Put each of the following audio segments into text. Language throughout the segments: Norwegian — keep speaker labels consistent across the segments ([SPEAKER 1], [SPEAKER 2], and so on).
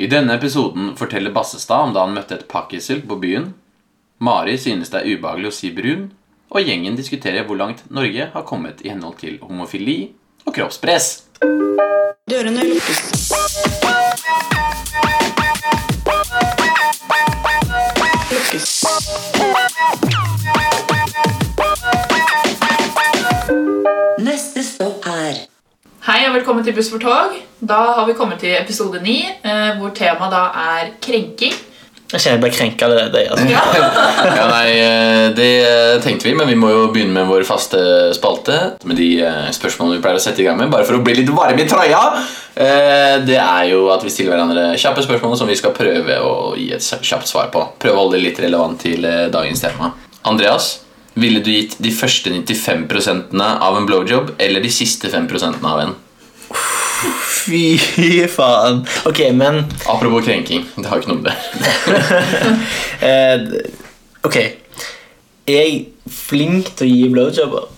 [SPEAKER 1] I denne episoden forteller Bassestad om da han møtte et pakkiselg på byen. Mari synes det er ubehagelig å si brun, og gjengen diskuterer hvor langt Norge har kommet i henhold til homofili og kroppspress.
[SPEAKER 2] Dørene lukkes. Lukkes.
[SPEAKER 3] Neste stopp er
[SPEAKER 4] Hei og velkommen til Buss for tog. Da har vi kommet til episode 9, eh, hvor temaet da er krenking.
[SPEAKER 5] Jeg kjenner jeg ble krenka allerede. Altså.
[SPEAKER 1] Ja, nei, eh, det eh, tenkte vi, men vi må jo begynne med vår faste spalte. Med de eh, spørsmålene vi pleier å sette i gang med, bare for å bli litt varme i trøya. Eh, Det er jo at vi stiller hverandre kjappe spørsmål som vi skal prøve å gi et kjapt svar på. Prøve å holde det litt relevant til eh, dagens tema. Andreas, ville du gitt de første 95 av en blowjob eller de siste 5 av en?
[SPEAKER 5] Fy faen. Ok, men
[SPEAKER 1] Apropos krenking. Det har jo ikke noe med det.
[SPEAKER 5] eh, Ok. Er jeg flink til å gi blowjobber?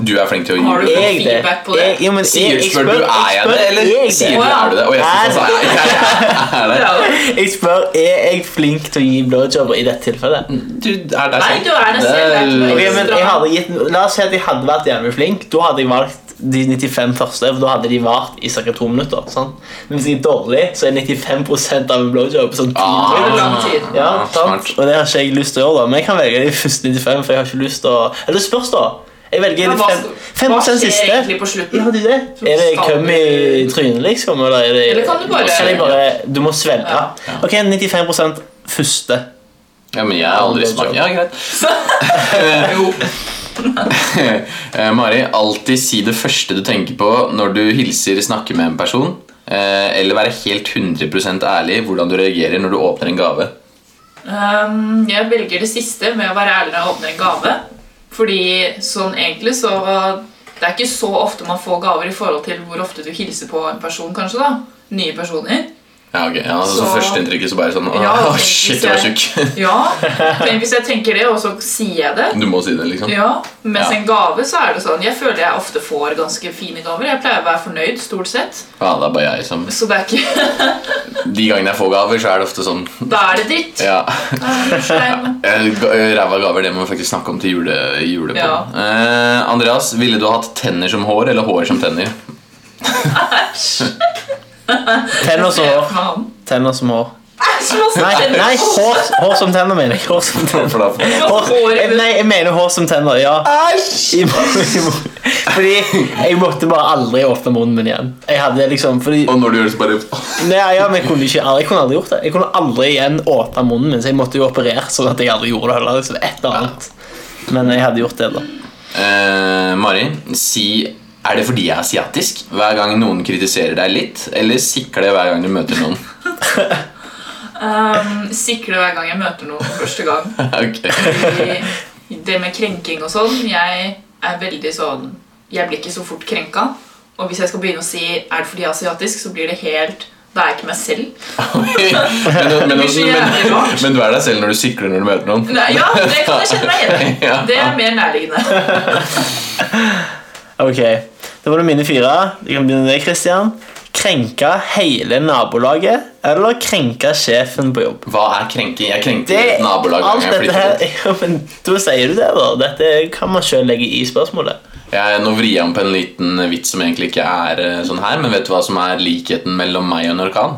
[SPEAKER 1] Du er flink til å gi
[SPEAKER 4] Har du-
[SPEAKER 1] blowjob.
[SPEAKER 5] Er jeg det?
[SPEAKER 4] Feedback på det?
[SPEAKER 5] Er- jo, men
[SPEAKER 1] Sier
[SPEAKER 5] jeg-
[SPEAKER 1] du
[SPEAKER 5] jeg
[SPEAKER 1] spør du er jeg det,
[SPEAKER 5] spør,
[SPEAKER 1] eller
[SPEAKER 5] er jeg
[SPEAKER 1] sier du er du det? Og jeg synes
[SPEAKER 5] Er-
[SPEAKER 1] også jeg er jeg er det.
[SPEAKER 5] Jeg spør er jeg flink til å gi blowjobber i dette tilfellet.
[SPEAKER 1] Du er deg
[SPEAKER 4] Nei,
[SPEAKER 1] selv.
[SPEAKER 4] du er deg selv, det er ikke noe
[SPEAKER 5] Ok, men jeg
[SPEAKER 4] Stram.
[SPEAKER 5] hadde gitt, La oss si at jeg hadde vært jævlig flink. Da hadde jeg valgt de 95 første, for da hadde de vart i ca. to minutter. Sant? Men hvis jeg er dårlig, så er 95 av en blowjob sånn
[SPEAKER 1] Ah,
[SPEAKER 4] Det er
[SPEAKER 5] tidlig.
[SPEAKER 4] lang tid. Ah,
[SPEAKER 5] Ja, sant?
[SPEAKER 1] smart.
[SPEAKER 5] Og det har ikke jeg lyst til å gjøre, da. Men jeg kan velge de første 95, for jeg har ikke lyst til å Eller spørs, da. Jeg velger
[SPEAKER 4] Men
[SPEAKER 5] de
[SPEAKER 4] hva
[SPEAKER 5] fem,
[SPEAKER 4] skal-
[SPEAKER 5] fem
[SPEAKER 4] hva skjer
[SPEAKER 5] siste.
[SPEAKER 4] egentlig på slutten?
[SPEAKER 5] Ja, det er det.
[SPEAKER 4] Så
[SPEAKER 5] Er det
[SPEAKER 4] skal
[SPEAKER 5] køm i
[SPEAKER 4] du-
[SPEAKER 5] trynet, liksom? Eller, er det,
[SPEAKER 4] Eller kan du bare-
[SPEAKER 5] Kan jeg bare Du må svelge.
[SPEAKER 4] Ja.
[SPEAKER 5] Ok, 95 første.
[SPEAKER 1] Ja, men jeg har aldri smakt Ja, greit.
[SPEAKER 4] Jo.
[SPEAKER 1] Eh, Mari, alltid si det første du tenker på når du hilser snakker med en person. Eh, eller være helt 100 ærlig i hvordan du reagerer når du åpner en gave.
[SPEAKER 4] Um, jeg velger det siste med å være ærlig og åpne en gave. Fordi sånn egentlig så uh, Det er ikke så ofte man får gaver i forhold til hvor ofte du hilser på en person, kanskje. da Nye personer.
[SPEAKER 1] Ja, ok. Ja, altså, så,
[SPEAKER 4] Så-
[SPEAKER 1] førsteinntrykket så bare sånn Åh,
[SPEAKER 4] Ja, tenk
[SPEAKER 1] shit,
[SPEAKER 4] hvis
[SPEAKER 1] du var
[SPEAKER 4] jeg-
[SPEAKER 1] tjukk.
[SPEAKER 4] Ja. Tenk hvis jeg tenker det, og så sier jeg det.
[SPEAKER 1] Du må si det, liksom.
[SPEAKER 4] Ja, Mens
[SPEAKER 1] Ja.
[SPEAKER 4] en gave så er det sånn Jeg føler jeg ofte får ganske fine gaver. Jeg pleier å være fornøyd, stort sett.
[SPEAKER 1] Ja, det er bare jeg som
[SPEAKER 4] Så det er ikke
[SPEAKER 1] De gangene jeg får gaver, så er det ofte sånn
[SPEAKER 4] Da er det dritt.
[SPEAKER 1] Ja.
[SPEAKER 4] Stein.
[SPEAKER 1] Eh, ga- eh, Ræva gaver, det må vi faktisk snakke om til jule, julepå.
[SPEAKER 4] Ja.
[SPEAKER 1] Eh, Andreas, ville du ha hatt tenner som hår eller hår som tenner?
[SPEAKER 5] Tenner som hår. Tenner som hår.
[SPEAKER 4] Æsj, hva sa
[SPEAKER 5] Nei,
[SPEAKER 4] jeg?
[SPEAKER 5] nei hår, hår som tenner, mener jeg. Hår som tenner.
[SPEAKER 1] For da får
[SPEAKER 5] Hår,
[SPEAKER 4] Hår i
[SPEAKER 5] jeg,
[SPEAKER 4] munnen.
[SPEAKER 5] nei, jeg mener hår som tenner, ja. I, må- i, må- fordi jeg måtte bare aldri åpne munnen min igjen. Jeg hadde liksom, fordi,
[SPEAKER 1] Og når du gjør det, så bare
[SPEAKER 5] nei, ja, men jeg, kunne ikke, jeg kunne aldri gjort det. Jeg kunne aldri igjen åpne munnen min, så jeg måtte jo operere sånn at jeg aldri gjorde det heller. Liksom, et eller annet. Men jeg hadde gjort det, da.
[SPEAKER 1] eh, Mari, si Er det fordi jeg er asiatisk? Hver gang noen kritiserer deg litt? Eller sikle hver gang du møter noen?
[SPEAKER 4] Um, sikle hver gang jeg møter noen for første gang.
[SPEAKER 1] ok
[SPEAKER 4] Fordi Det med krenking og sånn Jeg er veldig sånn Jeg blir ikke så fort krenka. Og hvis jeg skal begynne å si 'er det fordi jeg er asiatisk', så blir det helt Da er jeg ikke meg selv.
[SPEAKER 1] men, men, men,
[SPEAKER 4] Det blir så jævlig
[SPEAKER 1] men,
[SPEAKER 4] rart.
[SPEAKER 1] men du er deg selv når du sikler når du møter noen?
[SPEAKER 4] Nei, ja, det kan jeg kjenne meg igjen i.
[SPEAKER 1] Ja.
[SPEAKER 4] Det er mer nærliggende.
[SPEAKER 5] Ok, da var det mine fire. Du kan begynne med deg, Christian. Krenke hele nabolaget, eller krenke sjefen på jobb?
[SPEAKER 1] Hva er krenking? Jeg krenkte
[SPEAKER 5] det,
[SPEAKER 1] et nabolag
[SPEAKER 5] alt
[SPEAKER 1] gang jeg
[SPEAKER 5] dette
[SPEAKER 1] flyttet
[SPEAKER 5] her,
[SPEAKER 1] hit.
[SPEAKER 5] ja, men Da sier du det, da. Dette kan man sjøl legge i spørsmålet.
[SPEAKER 1] Jeg, nå vrir jeg om på en liten vits som egentlig ikke er eh, sånn her, men vet du hva som er likheten mellom meg og en orkan?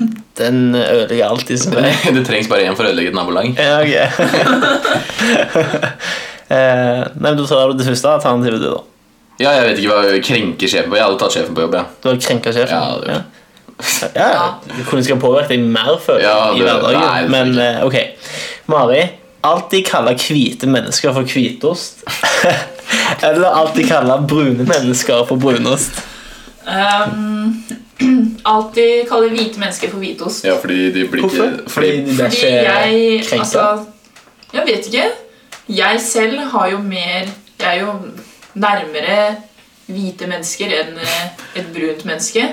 [SPEAKER 5] Den ødelegger alltid som er.
[SPEAKER 1] Det trengs bare én for å ødelegge et nabolag.
[SPEAKER 5] Ja, ok. eh, nei, men Da tar du det første alternativet, du, da.
[SPEAKER 1] Ja, jeg vet ikke hva krenker sjefen på. Jeg hadde tatt sjefen på jobb, ja.
[SPEAKER 5] Du har krenka
[SPEAKER 1] Ja,
[SPEAKER 5] sjefen.
[SPEAKER 1] det gjør
[SPEAKER 5] ja. Ja, det kunne sikkert påvirket deg mer før
[SPEAKER 1] Ja,
[SPEAKER 5] i
[SPEAKER 1] det-
[SPEAKER 5] hverdagen.
[SPEAKER 1] nei, det
[SPEAKER 5] men
[SPEAKER 1] tror
[SPEAKER 5] eh, ok. Mari, alltid kalle hvite mennesker for hvitost. Eller alltid kalle brune mennesker for brunost.
[SPEAKER 4] Um, alltid kaller hvite mennesker for hvitost.
[SPEAKER 1] Ja, fordi de blir ikke
[SPEAKER 5] Fordi de blir
[SPEAKER 4] Fordi
[SPEAKER 5] ikke
[SPEAKER 4] jeg
[SPEAKER 5] krenka.
[SPEAKER 4] Altså, jeg vet ikke. Jeg selv har jo mer Jeg er jo nærmere hvite mennesker enn eh, et brunt menneske.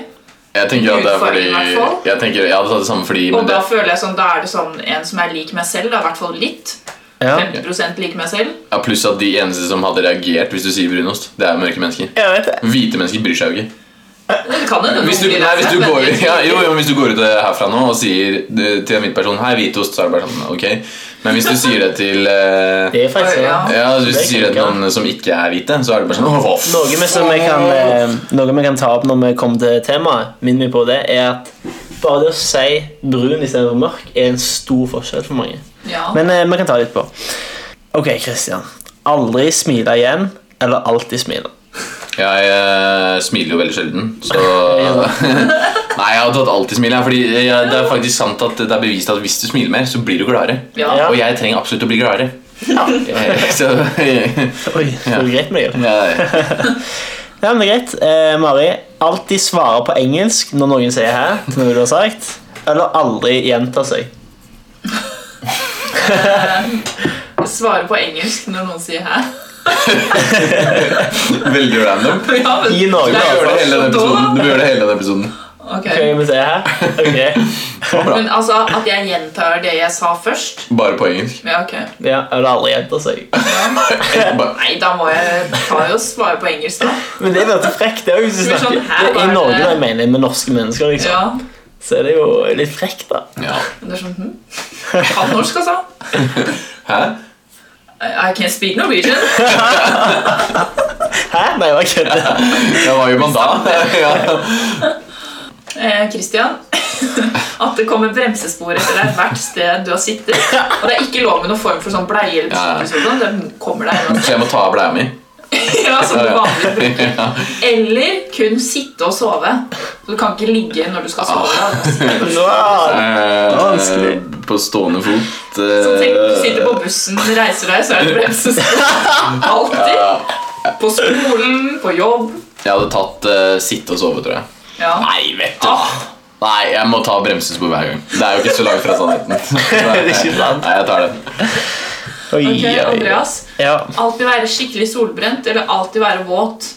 [SPEAKER 1] Jeg tenker at det er fordi
[SPEAKER 4] Utfordring, i hvert fall.
[SPEAKER 1] Jeg tenker, jeg hadde tatt det samme fordi
[SPEAKER 4] Og
[SPEAKER 1] men det,
[SPEAKER 4] da føler jeg sånn, da er det sånn en som er lik meg selv, da, i hvert fall litt.
[SPEAKER 5] Ja.
[SPEAKER 4] 50 lik meg selv.
[SPEAKER 1] ja, Pluss at de eneste som hadde reagert hvis du sier brunost, det er jo mørke mennesker.
[SPEAKER 5] Jeg vet det.
[SPEAKER 1] Hvite mennesker bryr seg jo ikke.
[SPEAKER 4] Men det kan jo
[SPEAKER 1] Hvis du,
[SPEAKER 4] noen blir
[SPEAKER 1] nei, hvis,
[SPEAKER 4] redd,
[SPEAKER 1] du
[SPEAKER 4] men
[SPEAKER 1] går,
[SPEAKER 4] jeg tror
[SPEAKER 1] ja,
[SPEAKER 4] ikke-
[SPEAKER 1] jo, jo, men hvis du går ut eh, herfra nå og sier du, til en hvit person 'hei, hvitost', så er det bare sånn ok. Men hvis du sier det til eh,
[SPEAKER 5] Det er faktisk
[SPEAKER 4] Ja.
[SPEAKER 5] det.
[SPEAKER 1] Ja, Hvis du
[SPEAKER 5] Det
[SPEAKER 1] sier det til
[SPEAKER 5] kan-
[SPEAKER 1] noen som ikke er hvite, så er det bare sånn «Åh, hva f-
[SPEAKER 5] Noe vi, som vi kan, eh, noe vi kan ta opp når vi kommer til temaet, minn meg på det, er at bare det å si brun istedenfor mørk er en stor forskjell for mange.
[SPEAKER 4] Ja.
[SPEAKER 5] Men eh, vi kan ta litt på. Ok, Christian. Aldri smile igjen, eller alltid smile.
[SPEAKER 1] Jeg eh, smiler jo veldig sjelden, så Nei, jeg har tatt alltid smil, jeg, fordi eh, det er faktisk sant at det er bevist at hvis du smiler mer, så blir du gladere.
[SPEAKER 4] Ja.
[SPEAKER 5] Ja.
[SPEAKER 1] Og jeg trenger absolutt å bli gladere.
[SPEAKER 5] Oi,
[SPEAKER 1] Eh, Så
[SPEAKER 5] så du grep meg, jo.
[SPEAKER 1] ja.
[SPEAKER 5] Ja, men det er greit. Eh, Mari, alltid svare på engelsk når noen sier her, til noe du har sagt, eller aldri gjenta seg.
[SPEAKER 4] Svare på engelsk når noen sier 'hæ'.
[SPEAKER 1] Veldig random.
[SPEAKER 4] Ja, men-
[SPEAKER 5] I
[SPEAKER 1] Du
[SPEAKER 5] Norge,
[SPEAKER 4] Nei,
[SPEAKER 1] gjør det
[SPEAKER 4] altså,
[SPEAKER 1] hele denne
[SPEAKER 4] da-
[SPEAKER 1] episoden. Du gjør det hele denne episoden.
[SPEAKER 4] Ok.
[SPEAKER 5] Hva vi si her? Ok.
[SPEAKER 1] Bra.
[SPEAKER 4] Men altså, at jeg gjentar det jeg sa først
[SPEAKER 1] Bare på engelsk.
[SPEAKER 4] Ja, ok.
[SPEAKER 5] Ja, eller aldri gjenta seg.
[SPEAKER 1] Bare-
[SPEAKER 4] Nei, da må jeg ta jo svare på engelsk, da.
[SPEAKER 5] Men det er veldig frekt, det er jo hvis du
[SPEAKER 4] Men
[SPEAKER 5] snakker
[SPEAKER 4] sånn, her
[SPEAKER 5] det er I
[SPEAKER 4] var
[SPEAKER 5] Norge,
[SPEAKER 4] det-
[SPEAKER 5] da, jeg mener, med norske mennesker, liksom,
[SPEAKER 4] Ja.
[SPEAKER 5] så er det jo litt frekt, da.
[SPEAKER 1] Ja.
[SPEAKER 4] Men det er sånn hm? Han norsk, altså.
[SPEAKER 1] Hæ?
[SPEAKER 4] I I can't speak Norwegian.
[SPEAKER 5] Hæ? Nei, jeg kødder.
[SPEAKER 1] Ja, hva gjør man da? Ja.
[SPEAKER 4] Eh, Christian, at det kommer bremsespor etter deg hvert sted du har sittet. Og det er ikke lov med noen form for sånn bleie eller
[SPEAKER 1] Ja, ja.
[SPEAKER 4] beskyttelse. og sånn, Det kommer deg inn.
[SPEAKER 1] Så jeg må ta av bleia mi.
[SPEAKER 4] Ja, som du vanlig bruker.
[SPEAKER 1] Ja.
[SPEAKER 4] Eller kun sitte og sove. Så du kan ikke ligge når du skal sove.
[SPEAKER 1] Ah.
[SPEAKER 4] da.
[SPEAKER 5] Wow.
[SPEAKER 1] Eh,
[SPEAKER 5] Vanskelig.
[SPEAKER 1] På stående fot.
[SPEAKER 4] Så
[SPEAKER 1] eh,
[SPEAKER 4] tenk, du sitter på bussen, reiser deg, så er det bremsespor. Alltid. På skolen, på jobb.
[SPEAKER 1] Jeg hadde tatt eh, sitte og sove, tror jeg.
[SPEAKER 4] Ja.
[SPEAKER 1] Nei, vet
[SPEAKER 4] Ah,
[SPEAKER 1] Nei, jeg må ta bremsespor hver gang. Det er jo ikke så langt fra sannheten.
[SPEAKER 5] er ikke sant.
[SPEAKER 1] Nei, jeg tar den.
[SPEAKER 5] Oi,
[SPEAKER 4] ok,
[SPEAKER 5] oi, oi.
[SPEAKER 4] Andreas.
[SPEAKER 5] Ja,
[SPEAKER 4] Alltid være skikkelig solbrent, eller alltid være våt.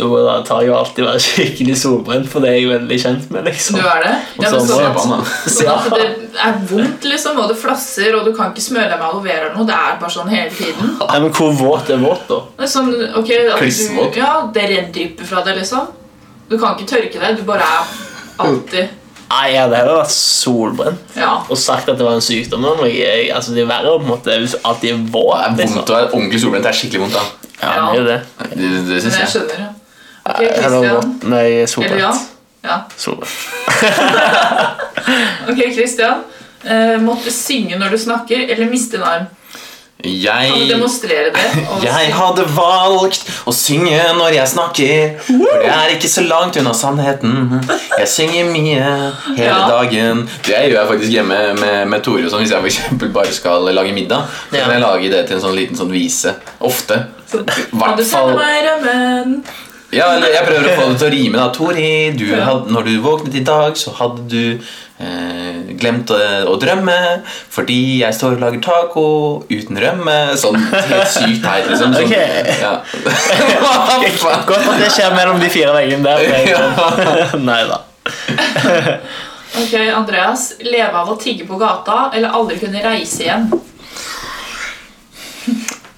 [SPEAKER 5] da tar jeg jo alltid være skikkelig solbrent, for det er jeg veldig kjent med,
[SPEAKER 4] Du
[SPEAKER 5] liksom.
[SPEAKER 4] er det. Ja, men
[SPEAKER 5] Og så
[SPEAKER 1] Se
[SPEAKER 5] må
[SPEAKER 4] sånn
[SPEAKER 5] jeg
[SPEAKER 1] på han,
[SPEAKER 4] at,
[SPEAKER 1] da.
[SPEAKER 4] sånn at det er vondt, liksom, og det flasser, og du kan ikke smøre deg med aloe vera eller noe. Det er bare sånn hele tiden.
[SPEAKER 5] Nei, men hvor våt er våt, da?
[SPEAKER 4] Det er Sånn, ok, at du-
[SPEAKER 1] Klissvåt.
[SPEAKER 4] Ja, det renndrypper fra deg, liksom. Du kan ikke tørke deg. Du bare er alltid
[SPEAKER 5] Nei, jeg hadde heller vært solbrent.
[SPEAKER 4] Ja.
[SPEAKER 5] og sagt at det var en sykdom. da, Men jeg, altså, det er verre på en måte hvis du alltid er våt. liksom.
[SPEAKER 1] Det er vondt å være ordentlig solbrent. Det er skikkelig vondt, da.
[SPEAKER 5] Ja, det er jo det.
[SPEAKER 1] Det, det
[SPEAKER 4] Men
[SPEAKER 1] synes
[SPEAKER 4] jeg
[SPEAKER 1] jeg.
[SPEAKER 4] skjønner, ja. Ok,
[SPEAKER 5] Eller
[SPEAKER 4] Christian.
[SPEAKER 5] Eh, våt. Nei,
[SPEAKER 4] Eller ja.
[SPEAKER 5] solbrent.
[SPEAKER 4] ja.
[SPEAKER 5] Solbrent.
[SPEAKER 4] Ok, Christian. Eh, måtte synge når du snakker, eller miste en arm. Kan du
[SPEAKER 1] Jeg
[SPEAKER 4] demonstrere det? og-
[SPEAKER 1] jeg hadde valgt å synge når jeg snakker, for det er ikke så langt unna sannheten. Jeg synger mye hele
[SPEAKER 4] Ja.
[SPEAKER 1] dagen. Det gjør jeg faktisk hjemme med, med Tore og sånn, hvis jeg for eksempel bare skal lage middag. Så
[SPEAKER 5] Ja.
[SPEAKER 1] kan jeg lage det til en sånn liten sånn vise. Ofte.
[SPEAKER 4] Kan du
[SPEAKER 1] Hvert
[SPEAKER 4] sende
[SPEAKER 1] fall-
[SPEAKER 4] meg rømmen?
[SPEAKER 1] Ja, eller jeg prøver å få det til å rime. da Tori, du hadde, når du våknet i dag, så hadde du eh, glemt å, å drømme fordi jeg står og lager taco uten rømme. Sånn helt sykt teit, liksom. Sånn,
[SPEAKER 5] Ok.
[SPEAKER 1] ja. Hva faen?
[SPEAKER 5] Godt at det skjer mellom de fire veggene der. for jeg- Nei da.
[SPEAKER 4] Ok, Andreas. Leve av å tigge på gata, eller aldri kunne reise igjen?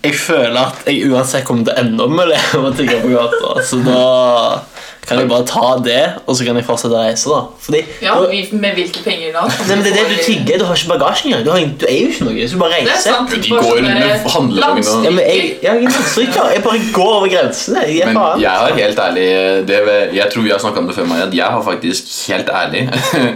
[SPEAKER 5] Jeg føler at jeg uansett kommer til å ende opp med det om å tigge på gata. Så da kan jeg bare ta det, og så kan jeg fortsette å reise, da. Fordi
[SPEAKER 4] Ja,
[SPEAKER 5] da-
[SPEAKER 4] vi- Med hvilke penger da?
[SPEAKER 5] Nei, men det er det du tigger. Du har ikke bagasje engang. Du, har ingen- du er jo ikke noe. Du skal bare reise.
[SPEAKER 4] Det er sant.
[SPEAKER 1] De går rundt med handlevogn og-
[SPEAKER 5] Ja, men jeg, jeg, er ikke landstryker. jeg bare går over grensene. Jeg er
[SPEAKER 1] Men
[SPEAKER 5] faen.
[SPEAKER 1] jeg har helt ærlig det, Jeg tror vi har snakket om det før, Maja. at Jeg har faktisk helt ærlig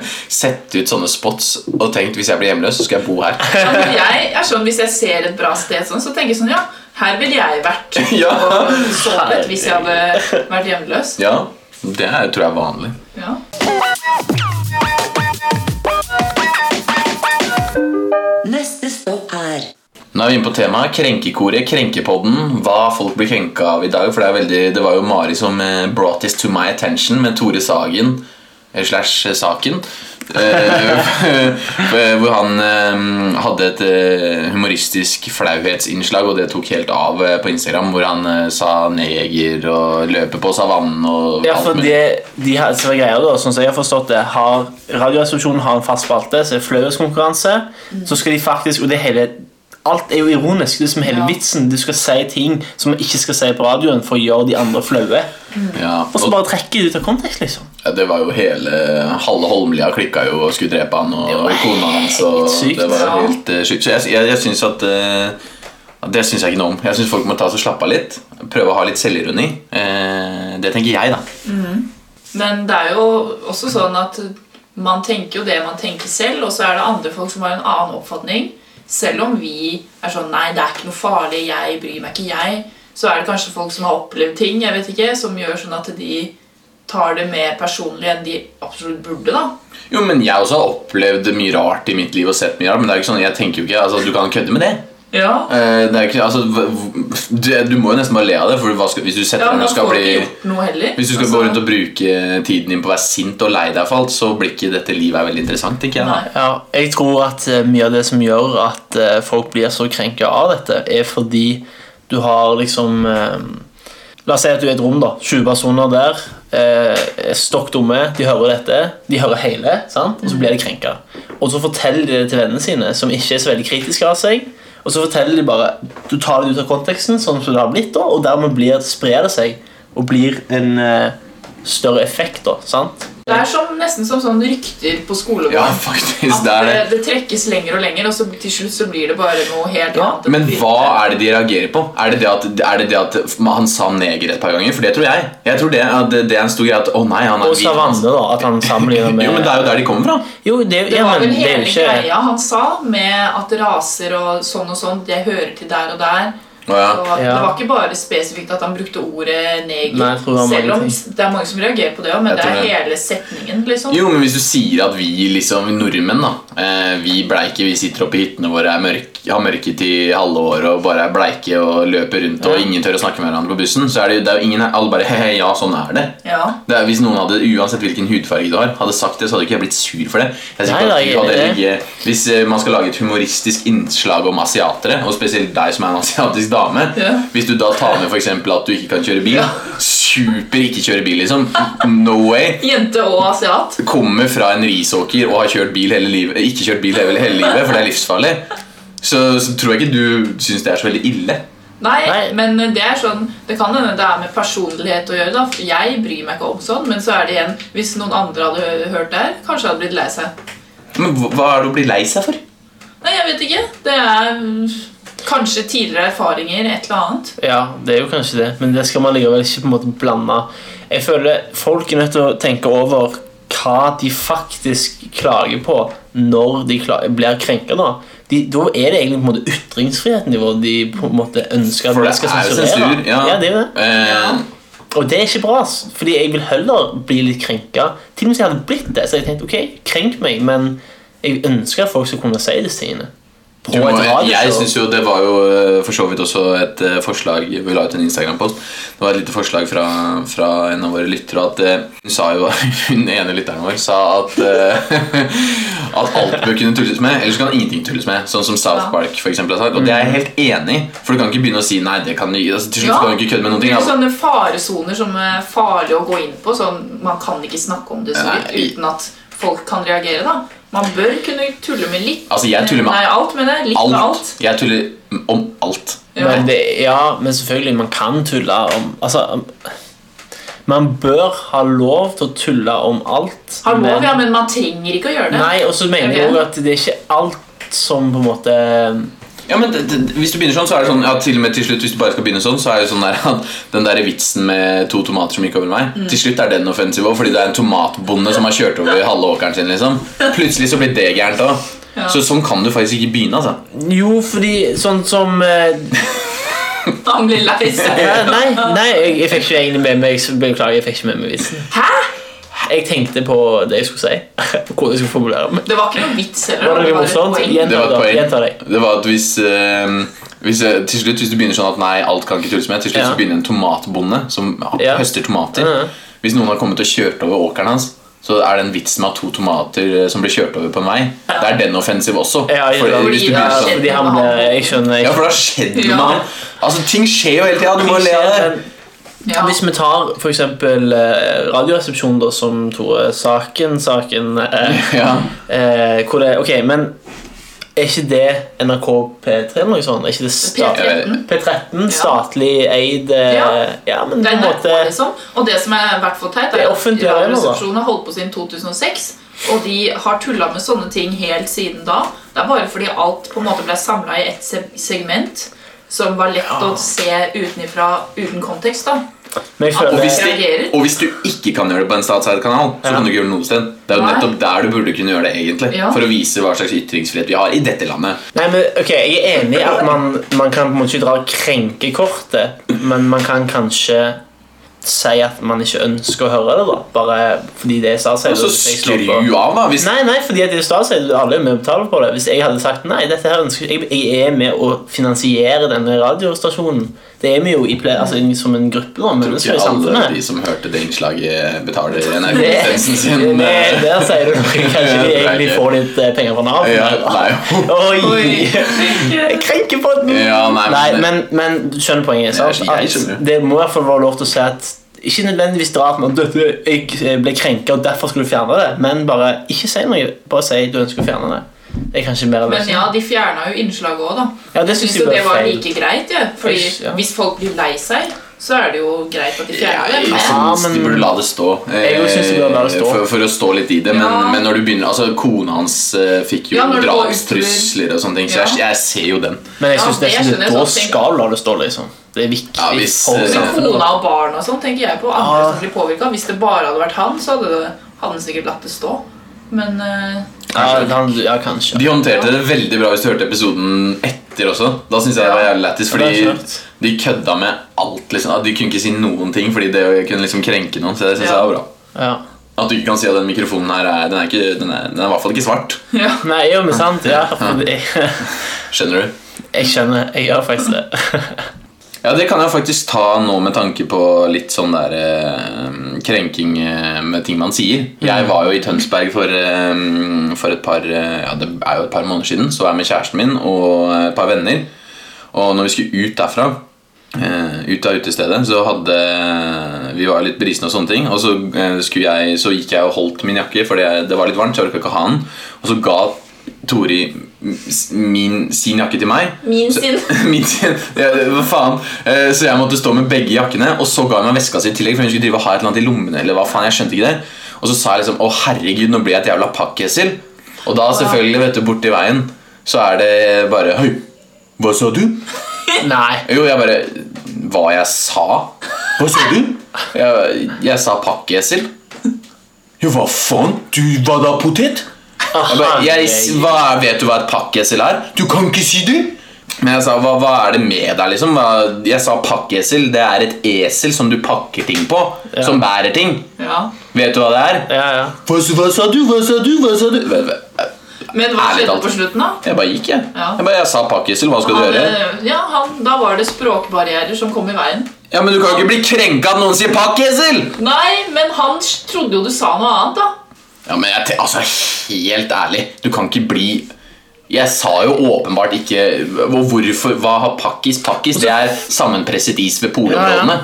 [SPEAKER 1] sett ut sånne spots og tenkt hvis jeg blir hjemløs, så skal jeg bo her.
[SPEAKER 4] Ja, men jeg er sånn, Hvis jeg ser et bra sted, sånn, så tenker jeg sånn Ja, her ville jeg vært.
[SPEAKER 1] Ja.
[SPEAKER 4] Og sovet hvis jeg hadde vært hjemløs.
[SPEAKER 1] Ja, Det er, tror jeg er vanlig.
[SPEAKER 4] Ja.
[SPEAKER 3] Neste stopp er
[SPEAKER 1] Nå er vi inne på temaet krenkekoret, krenkepodden. Hva folk blir krenka av i dag. For det, er veldig, det var jo Mari som eh, brought this to my attention med Tore Sagen eh, slash eh, Saken. Eh, Hvor han eh, hadde et eh, humoristisk flauhetsinnslag, og det tok helt av eh, på Instagram. Hvor han eh, sa neger og løper på savannen og
[SPEAKER 5] Ja, for
[SPEAKER 1] mulig.
[SPEAKER 5] de, de har, så greier da, sånn som jeg har forstått det, har Radioresepsjonen har en fast spalte, så er det flauhetskonkurranse. Så skal de faktisk Og det hele Alt er jo ironisk. Det er som hele
[SPEAKER 4] Ja.
[SPEAKER 5] vitsen. Du skal si ting som man ikke skal si på radioen for å gjøre de andre flaue.
[SPEAKER 1] Ja,
[SPEAKER 5] Og så
[SPEAKER 1] og-
[SPEAKER 5] bare trekker de ut av kontekst, liksom.
[SPEAKER 1] ja, det var jo hele Halve Holmlia klikka jo og skulle drepe han og kona hans. Og
[SPEAKER 5] helt sykt.
[SPEAKER 1] det var
[SPEAKER 4] Ja.
[SPEAKER 1] helt eh, sykt. Så jeg, jeg, jeg syns at eh, at Det syns jeg ikke noe om. Jeg syns folk må ta seg og slappe av litt. Prøve å ha litt selvironi. Eh, det tenker jeg, da.
[SPEAKER 4] Men det er jo også sånn at man tenker jo det man tenker selv, og så er det andre folk som har en annen oppfatning. Selv om vi er sånn 'nei, det er ikke noe farlig, jeg bryr meg ikke, jeg', så er det kanskje folk som har opplevd ting jeg vet ikke, som gjør sånn at de tar det mer personlig enn de absolutt burde. da.
[SPEAKER 1] Jo, men jeg også har opplevd mye rart i mitt liv og sett mye rart, men det er jo ikke sånn, jeg tenker jo ikke altså, Du kan kødde med det.
[SPEAKER 4] Ja,
[SPEAKER 1] Eh, det er ikke, altså, hva- hv- du, du må jo nesten bare le av det, for hva skal, hvis du setter
[SPEAKER 4] ja
[SPEAKER 1] deg ned
[SPEAKER 4] Man
[SPEAKER 1] og skal
[SPEAKER 4] får
[SPEAKER 1] bli
[SPEAKER 4] ikke gjort noe heller.
[SPEAKER 1] hvis du skal gå rundt og bruke tiden din på å være sint og lei deg for alt, så blir ikke dette livet veldig interessant. tenker jeg.
[SPEAKER 4] Nei.
[SPEAKER 1] da.
[SPEAKER 5] Ja, jeg tror at eh, mye av det som gjør at eh, folk blir så krenka av dette, er fordi du har liksom eh, La oss si at du er i et rom, da. 20 personer der. Eh, er stokk dumme. De hører dette. De hører hele, sant? og så
[SPEAKER 1] Mm.
[SPEAKER 5] blir de krenka. Og så forteller de det til vennene sine, som ikke er så veldig kritiske av seg. Og så forteller de bare Du tar det ut av konteksten, sånn som det har blitt, da, og dermed blir, sprer det seg og blir en eh, større effekt, da. sant?
[SPEAKER 4] Altså, Det er som, nesten som sånn rykter på skolegården.
[SPEAKER 1] Ja, faktisk,
[SPEAKER 4] At
[SPEAKER 1] det er
[SPEAKER 4] det,
[SPEAKER 1] det.
[SPEAKER 4] det trekkes lenger og lenger, og så til slutt så blir det bare noe helt annet. enn
[SPEAKER 1] Men
[SPEAKER 4] det
[SPEAKER 1] hva er det de reagerer på? Er det det at, er det det at man- han sa neger et par ganger? For det tror jeg. Jeg tror det, at det er en stor greie at å nei, han er
[SPEAKER 5] Og
[SPEAKER 1] hvit.
[SPEAKER 5] Savanne, da. At han sammenligner med
[SPEAKER 1] Jo, men det er jo der de kommer fra.
[SPEAKER 5] Jo, det,
[SPEAKER 4] Det
[SPEAKER 5] ja,
[SPEAKER 4] var vel
[SPEAKER 5] men det er
[SPEAKER 4] hele
[SPEAKER 5] jo ikke
[SPEAKER 4] greia han sa, med at raser og sånn og sånn, det hører til der og der.
[SPEAKER 1] Å, ja.
[SPEAKER 4] Og Det
[SPEAKER 5] Ja.
[SPEAKER 4] var ikke bare spesifikt at han brukte ordet neger,
[SPEAKER 5] Nei, jeg tror det var
[SPEAKER 4] selv
[SPEAKER 5] mange
[SPEAKER 4] om
[SPEAKER 5] ting.
[SPEAKER 4] det er mange som reagerer på det òg,
[SPEAKER 1] Jeg
[SPEAKER 4] men det
[SPEAKER 1] tror
[SPEAKER 4] er
[SPEAKER 1] det.
[SPEAKER 4] hele setningen, liksom.
[SPEAKER 1] Jo, men hvis du sier at vi liksom nordmenn da eh, Vi bleike, vi sitter oppe i hyttene våre er mørk, Har mørke til halve året Og bare er bleike og løper rundt Og ingen tør å snakke med hverandre på bussen Så er det, jo- det er jo ingen her, alle bare hehe, ja sånn er det
[SPEAKER 4] Ja.
[SPEAKER 1] det er, hvis noen hadde, uansett hvilken hudfarge du har, hadde sagt det, så hadde ikke jeg blitt sur for det. Jeg er sikker
[SPEAKER 5] Nei,
[SPEAKER 1] på at
[SPEAKER 5] da,
[SPEAKER 1] du
[SPEAKER 5] jeg
[SPEAKER 1] hadde
[SPEAKER 5] er enig i
[SPEAKER 1] ligget- hvis eh, man skal lage et humoristisk innslag om asiatere, og spesielt deg som er en asiatisk dame
[SPEAKER 4] Ja.
[SPEAKER 1] Hvis du da tar med for eksempel at du ikke kan kjøre bil, super ikke kjøre bil, liksom. No way
[SPEAKER 4] Jente og asiat.
[SPEAKER 1] kommer fra en risåker og har kjørt bil hele livet, ikke kjørt bil hele, hele livet, for det er livsfarlig, så, så tror jeg ikke du syns det er så veldig ille.
[SPEAKER 4] Nei,
[SPEAKER 5] Nei.
[SPEAKER 4] men det er sånn Det kan hende det er med personlighet å gjøre. da for Jeg bryr meg ikke om sånn, men så er det igjen Hvis noen andre hadde hø- hørt det her, kanskje hadde blitt lei seg.
[SPEAKER 1] Men hva- hva er det å bli lei seg for?
[SPEAKER 4] Nei, jeg vet ikke. Det er mm, kanskje tidligere erfaringer, et eller annet.
[SPEAKER 5] Ja, det er jo kanskje det, men det skal man likevel ikke på en måte blande. Jeg føler folk er nødt til å tenke over hva de faktisk klager på når de kla- blir krenka. Da de, Da er det egentlig på en måte ytringsfriheten de, de på en måte ønsker at
[SPEAKER 1] For
[SPEAKER 5] man
[SPEAKER 1] det
[SPEAKER 5] skal
[SPEAKER 1] er jo
[SPEAKER 5] sensurere.
[SPEAKER 1] sensur, ja.
[SPEAKER 5] det er det.
[SPEAKER 1] Eh,
[SPEAKER 5] Og det er ikke bra, ass. fordi jeg vil heller bli litt krenka. Til og med hvis jeg hadde blitt det, så jeg tenkte ok, krenk meg, men jeg ønsker at folk skal kunne si disse tingene. På
[SPEAKER 1] Du må,
[SPEAKER 5] et radioshow.
[SPEAKER 1] jeg synes jo Det var jo eh, for så vidt også et eh, forslag Vi la ut en Instagram-post. Det var et lite forslag fra, fra en av våre lyttere. At eh, hun sa jo Hun ene lytteren vår sa at eh, At alt bør kunne tulles med. Ellers kan ingenting tulles med. Sånn som South
[SPEAKER 4] Ja.
[SPEAKER 1] Park for eksempel, har sagt. Og det er jeg helt enig i. For du kan ikke begynne å si nei. det kan du, altså, Til slutt
[SPEAKER 4] Ja.
[SPEAKER 1] kan du ikke kødde med noen
[SPEAKER 4] Det
[SPEAKER 1] ting.
[SPEAKER 4] er
[SPEAKER 1] Altså.
[SPEAKER 4] sånne faresoner som er farlig å gå inn på. Sånn, man kan ikke snakke om det så vidt
[SPEAKER 1] Nei.
[SPEAKER 4] uten at folk kan reagere. da Man bør kunne tulle med litt.
[SPEAKER 1] Altså, jeg tuller med
[SPEAKER 4] Nei, alt, mener jeg. Litt
[SPEAKER 1] Alt.
[SPEAKER 4] med sånn alt.
[SPEAKER 1] Jeg tuller om alt.
[SPEAKER 4] Ja.
[SPEAKER 5] Men det, ja, men selvfølgelig, man kan tulle om Altså om- Man bør ha lov til å tulle om alt.
[SPEAKER 4] Har lov,
[SPEAKER 5] men-
[SPEAKER 4] ja, men man trenger ikke å gjøre det.
[SPEAKER 5] Nei, og så mener jeg
[SPEAKER 4] Ok.
[SPEAKER 5] også at det er ikke alt som på en måte
[SPEAKER 1] Ja, men det, det, Hvis du begynner sånn, så er det sånn Ja, til og med til slutt Hvis du bare skal begynne sånn, så er det sånn der at den der vitsen med to tomater som gikk over meg, til slutt er den offensiv også, fordi det er en tomatbonde som har kjørt over halve åkeren sin, liksom. Plutselig så blir det gærent òg. Så sånn kan du faktisk ikke begynne, altså.
[SPEAKER 5] Jo, fordi sånn som eh,
[SPEAKER 4] Han blir lei seg.
[SPEAKER 5] Nei, nei, nei jeg, jeg fikk ikke egentlig med meg så Beklager, jeg fikk ikke med meg vitsen.
[SPEAKER 4] Hæ?
[SPEAKER 5] Jeg tenkte på det jeg skulle si. På hvordan jeg skulle formulere meg.
[SPEAKER 4] Det var ikke noe vits heller.
[SPEAKER 5] Var det noe
[SPEAKER 4] bare et
[SPEAKER 5] morsomt?
[SPEAKER 4] poeng.
[SPEAKER 5] Igjen.
[SPEAKER 1] Det var et poeng.
[SPEAKER 5] Gjenta det.
[SPEAKER 1] Det var at hvis, eh, hvis eh, Til slutt, hvis du begynner sånn at nei, alt kan ikke tulles med, til slutt
[SPEAKER 5] Ja.
[SPEAKER 1] så begynner en tomatbonde som
[SPEAKER 5] Ja.
[SPEAKER 1] høster tomater.
[SPEAKER 5] Ja.
[SPEAKER 1] Hvis noen har kommet og kjørt over åkeren hans, så er det en vits med at to tomater eh, som blir kjørt over på en vei. Det er den offensiv også.
[SPEAKER 5] Ja, jeg,
[SPEAKER 1] Fordi hvis du
[SPEAKER 5] fordi,
[SPEAKER 1] begynner sånn
[SPEAKER 5] fordi han ble Jeg skjønner.
[SPEAKER 1] Ja,
[SPEAKER 5] Jeg,
[SPEAKER 1] for det har skjedd noe
[SPEAKER 4] Ja.
[SPEAKER 1] med han. Altså, ting skjer jo hele tida. Du må le av det.
[SPEAKER 5] Men-
[SPEAKER 4] Ja.
[SPEAKER 5] Hvis vi tar for eksempel eh, radioresepsjonen da, som Tore Saken, saken eh,
[SPEAKER 1] Ja.
[SPEAKER 5] eh, hvor det, ok, men Er ikke det NRK P3 eller noe sånt? Er ikke det sta
[SPEAKER 1] eh,
[SPEAKER 4] P13.
[SPEAKER 5] P13 statlig eid eh,
[SPEAKER 4] Ja.
[SPEAKER 5] Ja, men
[SPEAKER 4] Det er
[SPEAKER 5] på
[SPEAKER 4] NRK,
[SPEAKER 5] en måte
[SPEAKER 4] liksom. Og det som er hvert for teit,
[SPEAKER 5] Det
[SPEAKER 4] er
[SPEAKER 5] er
[SPEAKER 4] at
[SPEAKER 5] offentlig arena, da.
[SPEAKER 4] Radioresepsjonen har holdt på siden 2006. Og de har tulla med sånne ting helt siden da. Det er bare fordi alt på en måte ble samla i ett se- segment som var lett å se utenifra, uten kontekst. da.
[SPEAKER 5] Men jeg
[SPEAKER 1] Og
[SPEAKER 5] føler
[SPEAKER 1] hvis,
[SPEAKER 4] det- reagerer.
[SPEAKER 1] de, og hvis du ikke kan gjøre det på en statseid kanal, så
[SPEAKER 5] Ja.
[SPEAKER 1] kan du ikke gjøre det noe sted. Det er jo
[SPEAKER 4] Nei.
[SPEAKER 1] nettopp der du burde kunne gjøre det, egentlig.
[SPEAKER 4] Ja.
[SPEAKER 1] For å vise hva slags ytringsfrihet vi har i dette landet.
[SPEAKER 5] Nei, men ok, Jeg er enig i at man, man kan på en måte ikke dra og krenke kortet, men man kan kanskje si at man ikke ønsker å høre det, da. Bare fordi det er statseid.
[SPEAKER 1] Og så
[SPEAKER 5] og jeg slår
[SPEAKER 1] skru
[SPEAKER 5] på.
[SPEAKER 1] av, da. Hvis,
[SPEAKER 5] Nei, nei, fordi at det er statseid. Alle er med og betaler på det. Hvis jeg hadde sagt nei, dette her ønsker jeg, jeg er med å finansiere denne radiostasjonen. det er vi jo i ple altså, som en gruppe da,
[SPEAKER 1] tror
[SPEAKER 5] mennesker
[SPEAKER 1] ikke
[SPEAKER 5] i
[SPEAKER 1] alle
[SPEAKER 5] samfunnet.
[SPEAKER 1] de som hørte det innslaget, betaler NRK
[SPEAKER 5] Det,
[SPEAKER 1] lisensen sin. eh,
[SPEAKER 5] det, eh, der sier du noe. Kanskje de egentlig får litt eh, penger fra Nav.
[SPEAKER 1] ja, nei.
[SPEAKER 5] Oi! Jeg krenker på den!
[SPEAKER 1] Ja, nei,
[SPEAKER 5] nei,
[SPEAKER 1] men-
[SPEAKER 5] men, men du skjønner poenget. Sant?
[SPEAKER 1] Nei, jeg
[SPEAKER 5] At
[SPEAKER 1] skjønner.
[SPEAKER 5] det må i hvert fall være lov til å si at ikke nødvendigvis dra at man døde, jeg eh, ble krenka, og derfor skulle du fjerne det. Men bare ikke si noe. Bare si du ønsker å fjerne det. Det er kanskje mer av
[SPEAKER 4] Men ja, de fjerna jo innslaget òg, da.
[SPEAKER 5] ja, det syns
[SPEAKER 4] Synes
[SPEAKER 5] jeg
[SPEAKER 4] jo det
[SPEAKER 5] bare
[SPEAKER 4] var
[SPEAKER 5] er feil.
[SPEAKER 4] like greit, ja. Fordi
[SPEAKER 5] Ish, ja.
[SPEAKER 4] hvis folk blir lei seg, så er det jo greit at de fjerner det.
[SPEAKER 1] Jeg
[SPEAKER 4] Men
[SPEAKER 1] syns
[SPEAKER 5] men-
[SPEAKER 1] altså, de burde la det stå.
[SPEAKER 5] Jeg også synes de burde la det stå.
[SPEAKER 1] Eh, For, for å stå litt i det. Men,
[SPEAKER 4] Ja.
[SPEAKER 1] men når du begynner Altså, kona hans eh, fikk jo
[SPEAKER 4] Ja, når det går
[SPEAKER 1] drapstrusler og sånne ting, så
[SPEAKER 4] Ja.
[SPEAKER 1] jeg, jeg ser jo den.
[SPEAKER 5] Men jeg
[SPEAKER 4] Ja,
[SPEAKER 5] syns
[SPEAKER 4] det
[SPEAKER 5] nesten
[SPEAKER 4] skjønner jeg
[SPEAKER 5] da
[SPEAKER 4] sånn ting.
[SPEAKER 5] skal la det stå, liksom. Det er viktig
[SPEAKER 1] Ja, hvis, eh,
[SPEAKER 5] for
[SPEAKER 4] Men
[SPEAKER 5] samfunnet.
[SPEAKER 4] kona og barn og sånn tenker jeg på. Andre
[SPEAKER 5] Ja.
[SPEAKER 4] som blir påvirket Hvis det bare hadde vært han, så hadde, det, hadde han sikkert latt det stå. Men eh,
[SPEAKER 5] Ja, han, ja, kanskje.
[SPEAKER 1] De håndterte det veldig bra hvis du hørte episoden etter også. Da synes jeg det var jævlig lættis, fordi
[SPEAKER 5] Ja, det er klart.
[SPEAKER 1] de kødda med alt. liksom De kunne ikke si noen ting, fordi det kunne liksom krenke noen. Så jeg synes
[SPEAKER 4] Ja.
[SPEAKER 1] det var bra.
[SPEAKER 5] Ja.
[SPEAKER 1] At du ikke kan si at den mikrofonen her er, den er, ikke, den er, den er i hvert fall ikke svart.
[SPEAKER 4] ja.
[SPEAKER 5] Nei, jo, men sant. Ja, for jeg,
[SPEAKER 1] Skjønner du?
[SPEAKER 5] jeg skjønner. Jeg gjør faktisk det.
[SPEAKER 1] Ja, det kan jeg faktisk ta nå med tanke på litt sånn der eh, krenking eh, med ting man sier. Jeg var jo i Tønsberg for, eh, for et par eh, ja, det er jo et par måneder siden. Så var jeg med kjæresten min og et par venner. Og når vi skulle ut derfra, eh, ut av utestedet, så hadde eh, Vi var litt brisne og sånne ting. Og så, eh, skulle jeg, så gikk jeg og holdt min jakke, for det, det var litt varmt, så jeg orka ikke å ha den. Og så ga Tori min, sin jakke til meg.
[SPEAKER 4] Min
[SPEAKER 1] Så-
[SPEAKER 4] sin.
[SPEAKER 1] Min sin, ja, det- hva faen Eh, Så jeg måtte stå med begge jakkene Og så ga jeg meg veska si i tillegg For hun skulle drive og ha et eller annet i lommene Eller hva faen, jeg skjønte ikke det Og så sa jeg liksom, å herregud, nå blir jeg et jævla pakkhessel Og da selvfølgelig, vet du, borte i veien Så er det bare, høy, hva sa du?
[SPEAKER 5] Nei.
[SPEAKER 1] Jo, jeg bare, hva jeg sa? Hva sa du? Jeg, jeg sa pakkhessel Jo, hva faen? Du var da potet? Jeg bare, jeg, hva, er- vet du hva et pakkesel er? Du kan ikke si det! Men jeg sa, hva, hva er det med deg liksom? Hva, jeg sa pakkesel, det er et esel som du pakker ting på Som bærer ting
[SPEAKER 4] ja.
[SPEAKER 1] Vet du hva det er?
[SPEAKER 5] Ja, ja.
[SPEAKER 1] Hva, s- hva sa du, hva sa du, hva sa du? Vet du hva?
[SPEAKER 4] Men hva
[SPEAKER 1] Ærlig
[SPEAKER 4] skjedde
[SPEAKER 1] talt.
[SPEAKER 4] på slutten, da?
[SPEAKER 1] Jeg bare gikk jeg
[SPEAKER 4] Ja.
[SPEAKER 1] Jeg bare, jeg sa pakkesel, hva skal du
[SPEAKER 4] Han,
[SPEAKER 1] gjøre?
[SPEAKER 4] eh, ja, han, da var det språkbarrierer som kom i veien.
[SPEAKER 1] Ja, men du kan jo ikke bli krenka at noen sier pakkesel
[SPEAKER 4] Nei, men han s- trodde jo du sa noe annet, da.
[SPEAKER 1] Ja, men jeg, te- altså, helt ærlig Du kan ikke bli jeg sa jo åpenbart ikke hvor- hvorfor, Hva har pakkis? Pakkis det er sammenpresset is ved polområdene.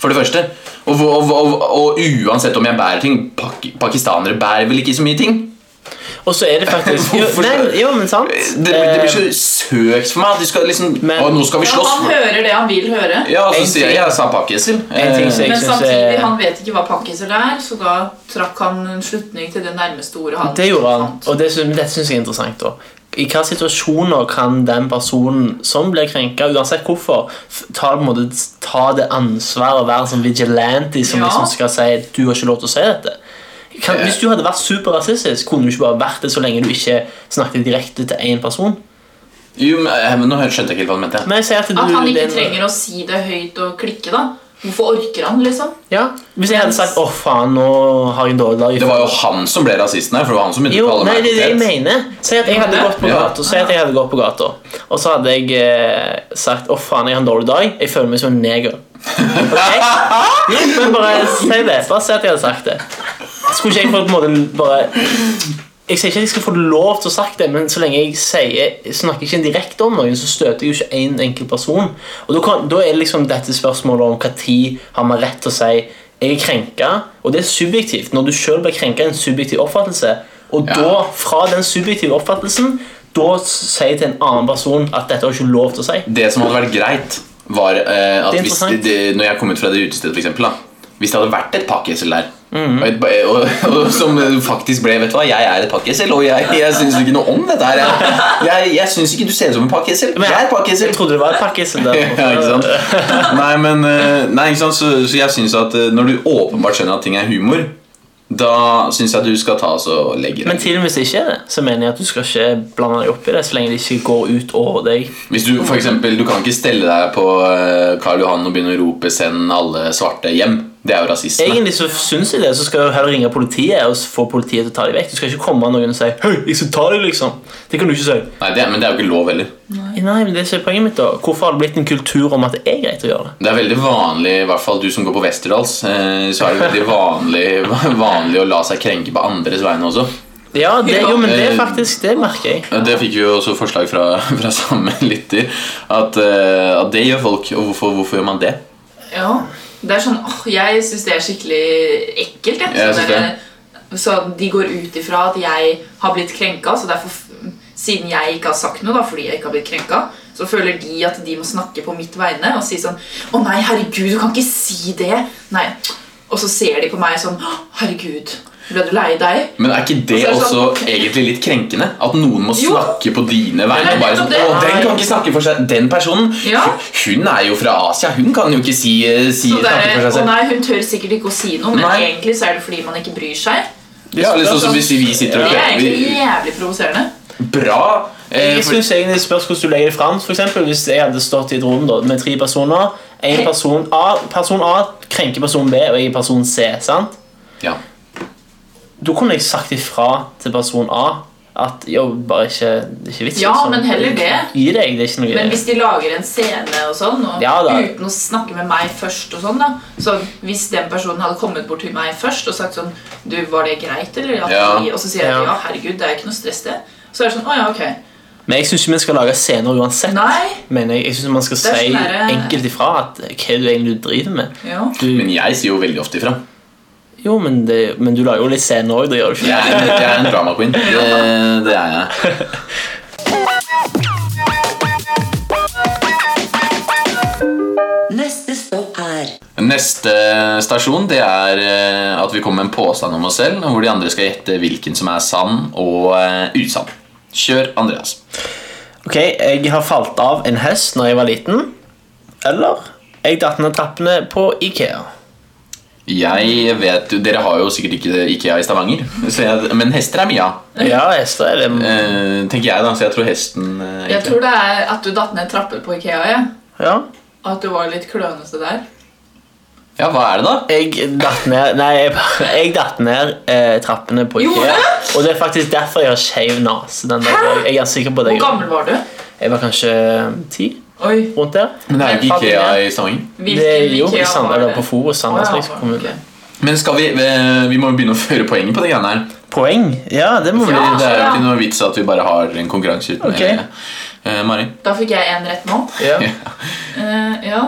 [SPEAKER 1] For det første. Og, hvor- og, og, og uansett om jeg bærer ting pak Pakistanere bærer vel ikke så mye ting?
[SPEAKER 5] Og så er det faktisk jo,
[SPEAKER 1] Hvorfor-
[SPEAKER 5] nei, jo, men sant.
[SPEAKER 1] Det, det blir så søkt for meg. at De skal liksom,
[SPEAKER 5] Men-
[SPEAKER 1] å, nå skal vi
[SPEAKER 4] Ja,
[SPEAKER 1] slåss!
[SPEAKER 4] han hører det han vil høre.
[SPEAKER 1] Ja, og så
[SPEAKER 5] En
[SPEAKER 1] sier jeg
[SPEAKER 5] ting-
[SPEAKER 1] jeg sa pakkisel.
[SPEAKER 5] En ting som
[SPEAKER 1] Eh,
[SPEAKER 5] jeg
[SPEAKER 4] Men
[SPEAKER 5] synes
[SPEAKER 4] samtidig,
[SPEAKER 5] er-
[SPEAKER 4] han vet ikke hva pakkisel er, så da trakk han en slutning til det nærmeste ordet han
[SPEAKER 5] Det gjorde han,
[SPEAKER 4] fant.
[SPEAKER 5] og det synes, men dette syns jeg er interessant. da. I hvilke situasjoner kan den personen som blir krenka, uansett hvorfor, f- ta, på en måte, ta det ansvaret og være en sånn vigilante som
[SPEAKER 4] Ja.
[SPEAKER 5] liksom skal si du har ikke lov til å si dette? Kan, hvis du hadde vært superrasistisk, kunne du ikke bare vært det så lenge du ikke snakket direkte til én person?
[SPEAKER 1] Jo, men, eh, men Nå skjønte jeg ikke helt hva han mente.
[SPEAKER 5] Men jeg sier at, du,
[SPEAKER 4] At han ikke
[SPEAKER 5] det-
[SPEAKER 4] trenger å si det høyt og klikke, da. Hvorfor orker han, liksom?
[SPEAKER 5] ja. Hvis jeg hadde sagt 'Å, faen, nå har jeg en dårlig dag',
[SPEAKER 1] Det var jo han som ble rasisten her. For det var han som begynte
[SPEAKER 5] Jo,
[SPEAKER 1] å kalle
[SPEAKER 5] nei,
[SPEAKER 1] meg
[SPEAKER 5] det er det jeg
[SPEAKER 1] potet.
[SPEAKER 5] mener. Si at jeg hadde gått på
[SPEAKER 1] Ja.
[SPEAKER 5] gata, si at jeg hadde gått på gata. Og så hadde jeg eh, sagt 'Å, faen, jeg har en dårlig dag. Jeg føler meg som en neger'. Ok? Jo, men bare si det. Bare si at jeg hadde sagt det. Skulle ikke jeg fått på en måte bare Jeg sier ikke at jeg skal få lov til å sagt det, men så lenge jeg sier, snakker ikke direkte om noen, så støter jeg jo ikke én en enkelt person. Og da, kan, da er det liksom dette spørsmålet om når har man rett til å si 'jeg er krenka', og det er subjektivt. Når du sjøl blir krenka, er en subjektiv oppfattelse. Og
[SPEAKER 1] Ja.
[SPEAKER 5] da, fra den subjektive oppfattelsen, da si til en annen person at dette har du ikke lov til å si.
[SPEAKER 1] Det som hadde vært greit, var eh, at
[SPEAKER 5] Det er
[SPEAKER 1] hvis
[SPEAKER 5] interessant.
[SPEAKER 1] det, Når jeg kom ut fra det utestedet, for eksempel, da, hvis det hadde vært et pakkesel der
[SPEAKER 5] Mhm.
[SPEAKER 1] og, et, ba- eh, og, og Som faktisk ble Vet du hva, jeg er et pakkesel, og jeg, jeg syns ikke noe om dette her. Jeg, jeg, jeg syns ikke du ser ut som en pakkesel. Jeg er et pakkesel.
[SPEAKER 5] Jeg trodde det var et pakkesel der.
[SPEAKER 1] ja, ikke sant? Nei, men eh, Nei, ikke sant? Så, så jeg syns at eh, når du åpenbart skjønner at ting er humor, da syns jeg du skal ta oss og legge
[SPEAKER 5] Men
[SPEAKER 1] deg.
[SPEAKER 5] til og med hvis det ikke er det, så mener jeg at du skal ikke blande deg opp i det så lenge det ikke går ut over deg.
[SPEAKER 1] Hvis du for eksempel, du kan ikke stelle deg på eh, Karl Johan og begynne å rope 'send alle svarte hjem'. Det er jo rasisme.
[SPEAKER 5] Egentlig så syns jeg det, så skal du heller ringe politiet og få politiet til å ta deg vekk. Du skal ikke komme noen og si 'Hei, jeg skal ta deg', liksom. Det kan du ikke si.
[SPEAKER 1] Nei, det er, Men det er jo ikke lov heller.
[SPEAKER 5] Nei, men det er ikke poenget mitt, da. Hvorfor har det blitt en kultur om at det er greit å gjøre det?
[SPEAKER 1] Det er veldig vanlig, i hvert fall du som går på Westerdals, eh, så er det veldig vanlig, vanlig å la seg krenke på andres vegne også.
[SPEAKER 5] Ja, det, jo, men det er
[SPEAKER 1] Eh,
[SPEAKER 5] faktisk Det merker jeg.
[SPEAKER 4] eh,
[SPEAKER 1] Ja, Det fikk vi jo også forslag fra, fra samme lytter, at, eh, at det gjør folk. Og hvorfor, hvorfor gjør man det?
[SPEAKER 4] Ja. Det er sånn, åh, Jeg syns det er skikkelig ekkelt. jeg.
[SPEAKER 1] Jeg synes
[SPEAKER 4] Sånn der- så de går ut ifra at jeg har blitt krenka, så derfor, siden jeg ikke har sagt noe da, fordi jeg ikke har blitt krenka, så føler de at de må snakke på mitt vegne og si sånn Å nei, herregud, du kan ikke si det! Nei. Og så ser de på meg sånn «Åh, Herregud, ble du lei deg?
[SPEAKER 1] Men er ikke det
[SPEAKER 4] Og så er det
[SPEAKER 1] også
[SPEAKER 4] sånn-
[SPEAKER 1] egentlig litt krenkende? At noen må
[SPEAKER 4] Jo.
[SPEAKER 1] snakke på dine vegne?
[SPEAKER 4] Men det er
[SPEAKER 1] og bare sånn,
[SPEAKER 4] nettopp
[SPEAKER 1] Å,
[SPEAKER 4] det.
[SPEAKER 1] den kan ikke snakke for seg Den personen,
[SPEAKER 4] Ja.
[SPEAKER 1] hun hun er jo fra Asia. Hun kan jo ikke si, eh, si
[SPEAKER 4] Så det
[SPEAKER 1] snakke
[SPEAKER 4] er,
[SPEAKER 1] for seg
[SPEAKER 4] og
[SPEAKER 1] selv.
[SPEAKER 4] nei, Hun tør sikkert ikke å si noe, men
[SPEAKER 1] Nei.
[SPEAKER 4] egentlig så er det fordi man ikke bryr seg.
[SPEAKER 1] Ja, litt sånn som hvis vi sitter og
[SPEAKER 4] Det er egentlig
[SPEAKER 1] vi-
[SPEAKER 4] jævlig provoserende.
[SPEAKER 1] Bra. eh,
[SPEAKER 5] Jeg
[SPEAKER 1] for-
[SPEAKER 5] synes egentlig det spørs hvordan du legger det frem. For eksempel, hvis jeg hadde stått i et rom da, med tre personer en person, A, person A krenker person B, og jeg er person C. sant?
[SPEAKER 1] Ja.
[SPEAKER 5] Da kunne jeg sagt ifra til person A at jo, bare ikke, det er ikke vits. sånn.»
[SPEAKER 4] Ja, men heller det.
[SPEAKER 5] Gi deg, det er ikke noe
[SPEAKER 4] Men hvis de lager en scene og sånn, og
[SPEAKER 5] Ja, da.
[SPEAKER 4] uten å snakke med meg først og sånn, da Så hvis den personen hadde kommet bort til meg først og sagt sånn Du, var det greit, eller? At
[SPEAKER 1] Ja.
[SPEAKER 4] vi- Og så sier jeg
[SPEAKER 5] Ja.
[SPEAKER 4] ja, herregud, det er ikke noe stress, det. Så er det sånn Å ja, ok.
[SPEAKER 5] Men jeg syns ikke vi skal lage scener uansett.
[SPEAKER 4] Nei.
[SPEAKER 5] Men jeg, jeg synes man skal
[SPEAKER 4] Det er
[SPEAKER 5] si
[SPEAKER 4] sånn der-
[SPEAKER 5] enkelt ifra at hva du egentlig driver med.
[SPEAKER 4] Ja.
[SPEAKER 5] Du,
[SPEAKER 1] Men jeg sier jo veldig ofte ifra.
[SPEAKER 5] jo, men, det, men du lager jo litt scener òg, det gjør du ikke?
[SPEAKER 1] Jeg er, en- jeg er en drama queen. Det, det er jeg.
[SPEAKER 3] Neste stopp er
[SPEAKER 1] Neste stasjon det er eh, at vi kommer med en påstand om oss selv, hvor de andre skal gjette hvilken som er sann og eh, usann. Kjør, Andreas.
[SPEAKER 5] Ok, jeg har falt av en hest når jeg var liten. Eller jeg datt ned trappene på Ikea.
[SPEAKER 1] Jeg vet jo, Dere har jo sikkert ikke Ikea i Stavanger, så jeg, men hester er mye av.
[SPEAKER 5] Ja, hester er det.
[SPEAKER 1] Eh, tenker jeg, da. Så jeg tror hesten eh,
[SPEAKER 4] Jeg
[SPEAKER 1] egentlig-
[SPEAKER 4] tror det er at du datt ned trapper på Ikea, ja.
[SPEAKER 5] Ja.
[SPEAKER 4] Og at du var litt klønete der.
[SPEAKER 1] Ja, hva er det, da?
[SPEAKER 5] Jeg datt ned Nei, jeg, jeg datt ned eh, trappene på
[SPEAKER 4] Gjorde
[SPEAKER 5] Ikea.
[SPEAKER 4] du?
[SPEAKER 5] Og det er faktisk derfor jeg har skeiv nese. den dag i dag. Jeg er sikker på det.
[SPEAKER 4] Hvor gammel var du?
[SPEAKER 5] Jeg var kanskje ti
[SPEAKER 4] Oi.
[SPEAKER 5] rundt der.
[SPEAKER 1] Men det er jo
[SPEAKER 5] Falt
[SPEAKER 1] ikke Ikea
[SPEAKER 5] ned.
[SPEAKER 1] i Stavanger.
[SPEAKER 5] Det er jo i Sand-
[SPEAKER 4] var
[SPEAKER 5] eller
[SPEAKER 4] det?
[SPEAKER 5] på Forus, Sandnes
[SPEAKER 4] Å, ja,
[SPEAKER 5] liksom, kommune.
[SPEAKER 4] ok.
[SPEAKER 1] Men skal vi eh, Vi må jo begynne å føre poenget på de greiene her.
[SPEAKER 5] Poeng? Ja, det må vi.
[SPEAKER 4] Ah, Ja.
[SPEAKER 1] Det er jo ikke noe vits at vi bare har en konkurranse uten
[SPEAKER 5] Ok.
[SPEAKER 1] eh, Mari?
[SPEAKER 4] Da fikk jeg en rett nå.
[SPEAKER 5] Ja.
[SPEAKER 4] Eh, ja.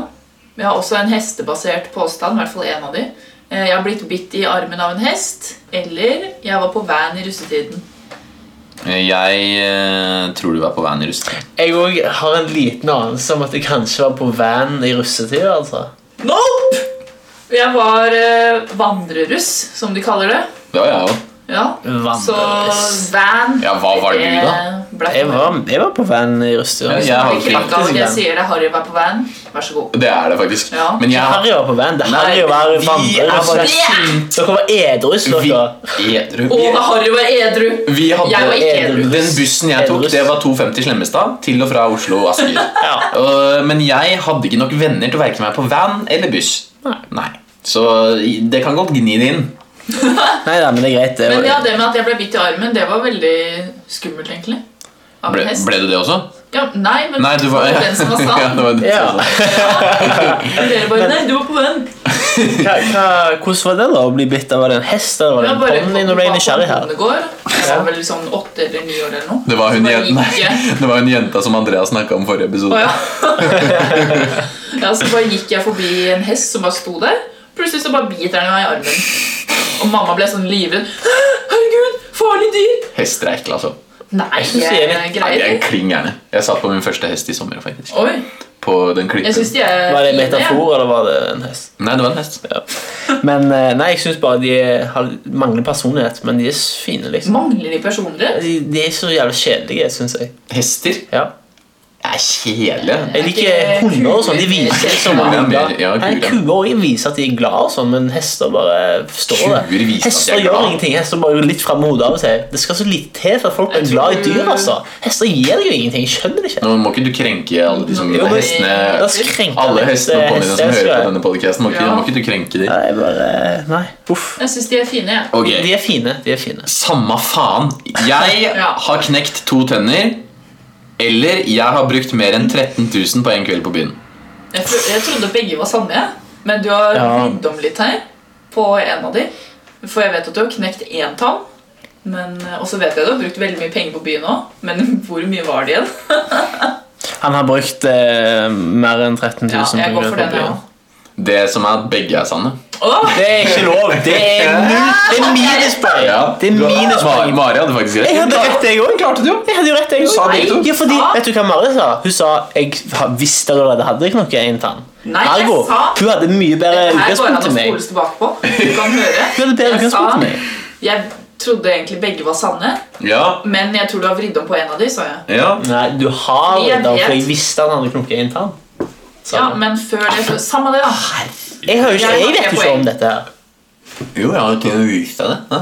[SPEAKER 4] Jeg har også en hestebasert påstand, i hvert fall en av de. Eh, jeg har blitt bitt i armen av en hest, eller jeg var på van i russetiden.
[SPEAKER 1] Jeg eh, tror du er på veien i rust.
[SPEAKER 5] Jeg òg har en liten anelse om at jeg kanskje var på van i russetida. altså.
[SPEAKER 4] Nope! Jeg var eh, vandreruss, som de kaller det.
[SPEAKER 1] Det var jeg òg.
[SPEAKER 4] Ja. Så
[SPEAKER 5] Vandreruss.
[SPEAKER 4] van
[SPEAKER 1] Ja, hva var du da?
[SPEAKER 4] eh, ble-
[SPEAKER 5] Jeg var, jeg var på van i russetida.
[SPEAKER 1] Ja, jeg har
[SPEAKER 4] Blir
[SPEAKER 1] ikke
[SPEAKER 4] krenka hvis jeg
[SPEAKER 5] van.
[SPEAKER 4] sier det. Harry var på van. Vær så god.
[SPEAKER 1] Det er det faktisk.
[SPEAKER 4] Ja.
[SPEAKER 1] Men jeg
[SPEAKER 5] Harry var på van. Det er
[SPEAKER 1] Nei,
[SPEAKER 5] Harry å være
[SPEAKER 1] vi er
[SPEAKER 5] vandreruss.
[SPEAKER 4] bare-
[SPEAKER 5] Dere var edrus,
[SPEAKER 1] Vi
[SPEAKER 5] dere.
[SPEAKER 1] edru.
[SPEAKER 4] Å,
[SPEAKER 1] Vi,
[SPEAKER 4] da Harry var edru!
[SPEAKER 1] vi
[SPEAKER 4] Jeg var
[SPEAKER 1] hadde
[SPEAKER 4] ikke edru.
[SPEAKER 1] den bussen jeg tok,
[SPEAKER 5] Edrus.
[SPEAKER 1] det var 250 Slemmestad til og fra Oslo og Asker.
[SPEAKER 5] Ja.
[SPEAKER 1] Og- Men jeg hadde ikke nok venner til å verke meg på van eller buss.
[SPEAKER 5] Nei.
[SPEAKER 1] Så det kan godt gni det inn.
[SPEAKER 5] Nei da, men det er greit. Det
[SPEAKER 4] Men ja,
[SPEAKER 5] var,
[SPEAKER 4] det med at jeg ble bitt i armen, det var veldig skummelt, egentlig. Av en
[SPEAKER 1] Ble,
[SPEAKER 4] hest.
[SPEAKER 1] ble du det også?
[SPEAKER 4] Ja, nei, men
[SPEAKER 1] Nei, du var
[SPEAKER 4] det var den som var sann.
[SPEAKER 1] Ja, det var den som
[SPEAKER 5] ja.
[SPEAKER 1] var sann.
[SPEAKER 4] Dere bare, nei, du var på den.
[SPEAKER 5] Hva, hva, hvordan var det da å bli bitt av var det en hest eller var det
[SPEAKER 4] Jeg
[SPEAKER 5] en
[SPEAKER 4] bare
[SPEAKER 5] ponni? Nå ble jeg nysgjerrig her.
[SPEAKER 4] Bondegård. Jeg var vel sånn åtte eller ni år eller noe.
[SPEAKER 1] Det var hun,
[SPEAKER 4] Så bare
[SPEAKER 1] jenta,
[SPEAKER 4] gikk jeg-
[SPEAKER 1] nei, det var hun jenta som Andreas snakka om i forrige episode.
[SPEAKER 4] Å, ja. ja, så bare gikk jeg forbi en hest som bare sto der. Plutselig så bare biter den meg i armen. Og mamma ble sånn livredd. Herregud, farlig dyr!
[SPEAKER 1] Hester er ekle, altså.
[SPEAKER 4] Nei,
[SPEAKER 5] synes de er litt-
[SPEAKER 1] Nei,
[SPEAKER 4] greier
[SPEAKER 1] de er
[SPEAKER 4] det.
[SPEAKER 1] klin gærne. Jeg satt på min første hest i sommer, faktisk.
[SPEAKER 4] Oi,
[SPEAKER 1] På den klippen.
[SPEAKER 4] jeg syns de er
[SPEAKER 5] Var det en
[SPEAKER 4] fine,
[SPEAKER 5] metafor, eller var det en hest?
[SPEAKER 1] Nei, det var en hest.
[SPEAKER 5] Men eh, nei, jeg syns bare de har, mangler personlighet, men de er s- fine,
[SPEAKER 4] jeg.
[SPEAKER 5] liksom.
[SPEAKER 4] Mangler de personlighet?
[SPEAKER 5] De, de er så jævlig kjedelige, syns jeg.
[SPEAKER 1] Hester
[SPEAKER 5] Ja.
[SPEAKER 1] er kjedelige.
[SPEAKER 5] Jeg liker hunder og sånn. De viser liksom
[SPEAKER 1] Ja, mer-
[SPEAKER 5] ja,
[SPEAKER 1] ja, kuer, ja.
[SPEAKER 5] Kuer også viser at de er glad og sånn, men hester bare forstår
[SPEAKER 1] Kuer
[SPEAKER 5] det.
[SPEAKER 1] viser at de er
[SPEAKER 5] Hester
[SPEAKER 1] glad.
[SPEAKER 5] gjør ingenting. Hester bare er litt frem med hodet av og til. Det skal så litt til for at folk blir
[SPEAKER 4] Jeg
[SPEAKER 5] glad i
[SPEAKER 4] tror-
[SPEAKER 5] dyr, altså. Hester gir deg jo ingenting. Jeg skjønner det ikke.
[SPEAKER 1] Nå må ikke du krenke alle de som
[SPEAKER 4] Jo, men-
[SPEAKER 1] hestene
[SPEAKER 5] La oss krenke
[SPEAKER 1] Alle
[SPEAKER 5] litt,
[SPEAKER 1] hestene og
[SPEAKER 5] eh,
[SPEAKER 1] ponniene som
[SPEAKER 5] hester,
[SPEAKER 1] hører
[SPEAKER 5] jeg.
[SPEAKER 1] på denne podcasten Må, ikke-
[SPEAKER 4] Ja.
[SPEAKER 1] må ikke du krenke dem.
[SPEAKER 5] Nei, jeg bare Nei. Uff.
[SPEAKER 4] Jeg syns de er fine, jeg.
[SPEAKER 1] Ok,
[SPEAKER 5] De er fine. De er fine.
[SPEAKER 1] Samme faen. Jeg
[SPEAKER 4] Ja.
[SPEAKER 1] har knekt to tenner. Eller jeg har brukt mer enn 13 000 på en kveld på byen.
[SPEAKER 4] Jeg, tro, jeg trodde begge var samme, jeg. men du har
[SPEAKER 5] Ja.
[SPEAKER 4] vridd om litt her på en av de. For jeg vet at du har knekt én tann, men, og så vet jeg du har brukt veldig mye penger på byen òg, men hvor mye var det igjen?
[SPEAKER 5] Han har brukt eh, mer enn 13
[SPEAKER 4] Ja,
[SPEAKER 5] 000
[SPEAKER 4] jeg
[SPEAKER 5] på
[SPEAKER 4] går for
[SPEAKER 5] grunn av
[SPEAKER 4] den, jeg
[SPEAKER 5] byen.
[SPEAKER 4] òg.
[SPEAKER 1] Det som er at begge er sanne.
[SPEAKER 4] Åh,
[SPEAKER 5] Det er ikke lov! Det er null! Det er minuspoeng! Det er
[SPEAKER 1] Mari,
[SPEAKER 5] minuspoeng.
[SPEAKER 1] Mari hadde faktisk
[SPEAKER 5] Jeg
[SPEAKER 1] rett.
[SPEAKER 5] hadde rett, jeg òg. Jeg hadde jo rett, jeg
[SPEAKER 1] Du sa
[SPEAKER 5] også.
[SPEAKER 1] begge to.
[SPEAKER 5] Ja, fordi,
[SPEAKER 4] Sa?
[SPEAKER 5] vet du hva Mari sa? Hun sa jeg ha- visste allerede hadde jeg knokket en tann.
[SPEAKER 4] Nei, jeg
[SPEAKER 5] Ergo,
[SPEAKER 4] sa-
[SPEAKER 5] hun hadde mye bedre
[SPEAKER 4] her går
[SPEAKER 5] utgangspunkt
[SPEAKER 4] han og
[SPEAKER 5] til meg.
[SPEAKER 4] spoles tilbake på. Du kan høre.
[SPEAKER 5] Hun hadde bedre
[SPEAKER 4] Jeg,
[SPEAKER 5] utgangspunkt til meg.
[SPEAKER 4] jeg trodde egentlig begge var sanne,
[SPEAKER 1] Ja,
[SPEAKER 4] men jeg tror du har vridd om på en av de, sa jeg.
[SPEAKER 1] ja.
[SPEAKER 5] Nei, du har
[SPEAKER 4] Fordi jeg
[SPEAKER 5] det, for jeg
[SPEAKER 4] vet.
[SPEAKER 5] visste han hadde knokket en tann. Sa
[SPEAKER 4] Ja,
[SPEAKER 5] hun.
[SPEAKER 4] men før det så- Samme det, da.
[SPEAKER 5] Ah, jeg, har jo ikke,
[SPEAKER 4] Jeg
[SPEAKER 5] jeg
[SPEAKER 4] har
[SPEAKER 5] vet jo
[SPEAKER 4] tre
[SPEAKER 5] ikke
[SPEAKER 4] poeng.
[SPEAKER 5] om dette her.
[SPEAKER 1] Jo, jeg har jo ikke vist deg det. Nei.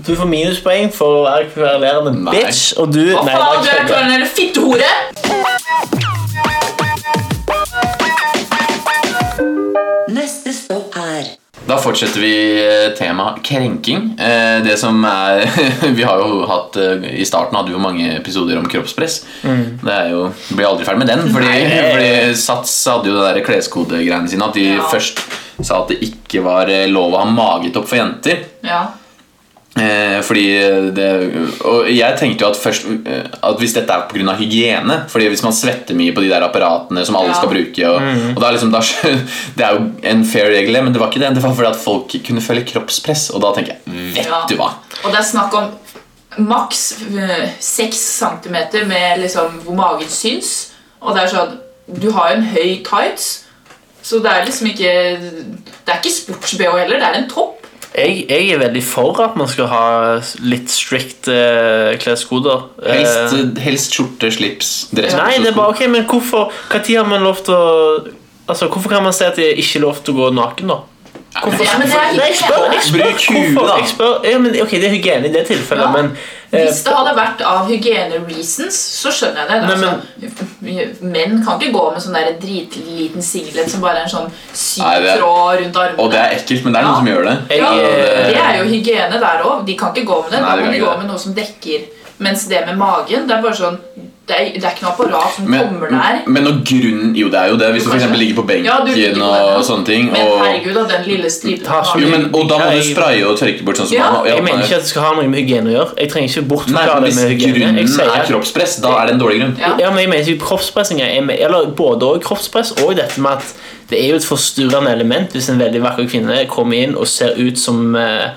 [SPEAKER 5] Du, du får minuspoeng for å være kverulerende
[SPEAKER 1] Nei.
[SPEAKER 5] bitch, og du
[SPEAKER 4] Å
[SPEAKER 5] Nei,
[SPEAKER 4] faen, du
[SPEAKER 5] bare
[SPEAKER 4] er
[SPEAKER 5] kødder.
[SPEAKER 4] klovn eller fittehore!
[SPEAKER 3] Neste stopp er
[SPEAKER 1] Da fortsetter vi eh, tema krenking. Eh, Det som er Vi har jo hatt eh, I starten hadde vi jo mange episoder om kroppspress. Det er jo vi Blir aldri ferdig med den. Fordi, fordi Sats hadde jo det der kleskodegreiene sine. At de
[SPEAKER 4] Ja.
[SPEAKER 1] først sa at det ikke var eh, lov å ha magetopp for jenter.
[SPEAKER 4] Ja.
[SPEAKER 1] Eh, fordi det Og jeg tenkte jo at først eh, At hvis dette er pga. hygiene Fordi hvis man svetter mye på de der apparatene som alle
[SPEAKER 4] Ja.
[SPEAKER 1] skal bruke og,
[SPEAKER 5] Mhm.
[SPEAKER 1] og da er liksom, da, skjø- Det er jo en fair regel, men det var ikke det. Det var fordi at folk kunne føle kroppspress, og da tenker jeg Vet
[SPEAKER 4] ja.
[SPEAKER 1] du hva?
[SPEAKER 4] Og det er snakk om maks øh, 6 cm med liksom hvor magen syns. Og det er sånn Du har jo en høy tights, så det er liksom ikke Det er ikke sports-BH heller, det er en topp.
[SPEAKER 5] Jeg, jeg er veldig for at man skal ha litt strict eh, kleskoder. Eh,
[SPEAKER 1] Helst, helst skjorte, slips, dress
[SPEAKER 5] Nei, det er bare ok, men hvorfor Hva tid har man lov til å Altså, hvorfor kan man si at det er ikke lov til å gå naken, da? Hvorfor?
[SPEAKER 4] Ja, men det er
[SPEAKER 5] Nei, jeg spør, jeg spør
[SPEAKER 1] Bruk huet,
[SPEAKER 5] hvorfor.
[SPEAKER 1] da.
[SPEAKER 5] Jeg spør, ja, men, ok, det er hygiene i det tilfellet,
[SPEAKER 4] Ja.
[SPEAKER 5] men eh,
[SPEAKER 4] Hvis det hadde vært av hygiene-reasons, så skjønner jeg det. det er altså, menn kan ikke gå med sånn der dritliten singlet som bare er en sånn syv
[SPEAKER 1] Nei, det er-
[SPEAKER 4] tråd rundt armene.
[SPEAKER 1] Og det er ekkelt, men det er noen
[SPEAKER 4] Ja.
[SPEAKER 1] som gjør det.
[SPEAKER 5] Jeg-
[SPEAKER 4] Ja,
[SPEAKER 5] eh,
[SPEAKER 4] det er jo hygiene der òg. De kan ikke gå med det.
[SPEAKER 1] Nei,
[SPEAKER 4] da
[SPEAKER 1] de
[SPEAKER 4] må
[SPEAKER 1] kan
[SPEAKER 4] de
[SPEAKER 1] ikke
[SPEAKER 4] gå
[SPEAKER 1] det.
[SPEAKER 4] med noe som dekker. Mens det med magen, det er bare sånn Det er, det er ikke noe apparat som
[SPEAKER 1] Eh, Men,
[SPEAKER 4] kommer der.
[SPEAKER 1] men når grunnen Jo, det er jo det. Hvis du f.eks.
[SPEAKER 4] Kanskje-
[SPEAKER 1] ligger på benken
[SPEAKER 4] Ja, du ligger på
[SPEAKER 1] og
[SPEAKER 4] den, ja.
[SPEAKER 1] sånne ting.
[SPEAKER 4] Men
[SPEAKER 1] og,
[SPEAKER 4] herregud, da, den lille stripen
[SPEAKER 5] Ta
[SPEAKER 4] på
[SPEAKER 5] så
[SPEAKER 1] jo,
[SPEAKER 4] magen.
[SPEAKER 1] men, og da må du
[SPEAKER 5] Jeg-
[SPEAKER 1] spraye og tørke bort sånn som
[SPEAKER 4] Ja.
[SPEAKER 1] man-
[SPEAKER 5] jeg
[SPEAKER 1] man-
[SPEAKER 5] mener ikke at det skal ha noe med hygiene å gjøre. Jeg trenger ikke
[SPEAKER 1] Nei,
[SPEAKER 5] bortforklare
[SPEAKER 1] men
[SPEAKER 5] det
[SPEAKER 1] Hvis
[SPEAKER 5] med hygiene.
[SPEAKER 1] grunnen
[SPEAKER 5] Jeg sier-
[SPEAKER 1] er kroppspress, da er det en dårlig grunn.
[SPEAKER 4] Ja.
[SPEAKER 5] Ja, men jeg mener ikke kroppspressing er med, eller både og kroppspress og dette med at det er jo et forstyrrende element hvis en veldig vakker kvinne kommer inn og ser ut som eh,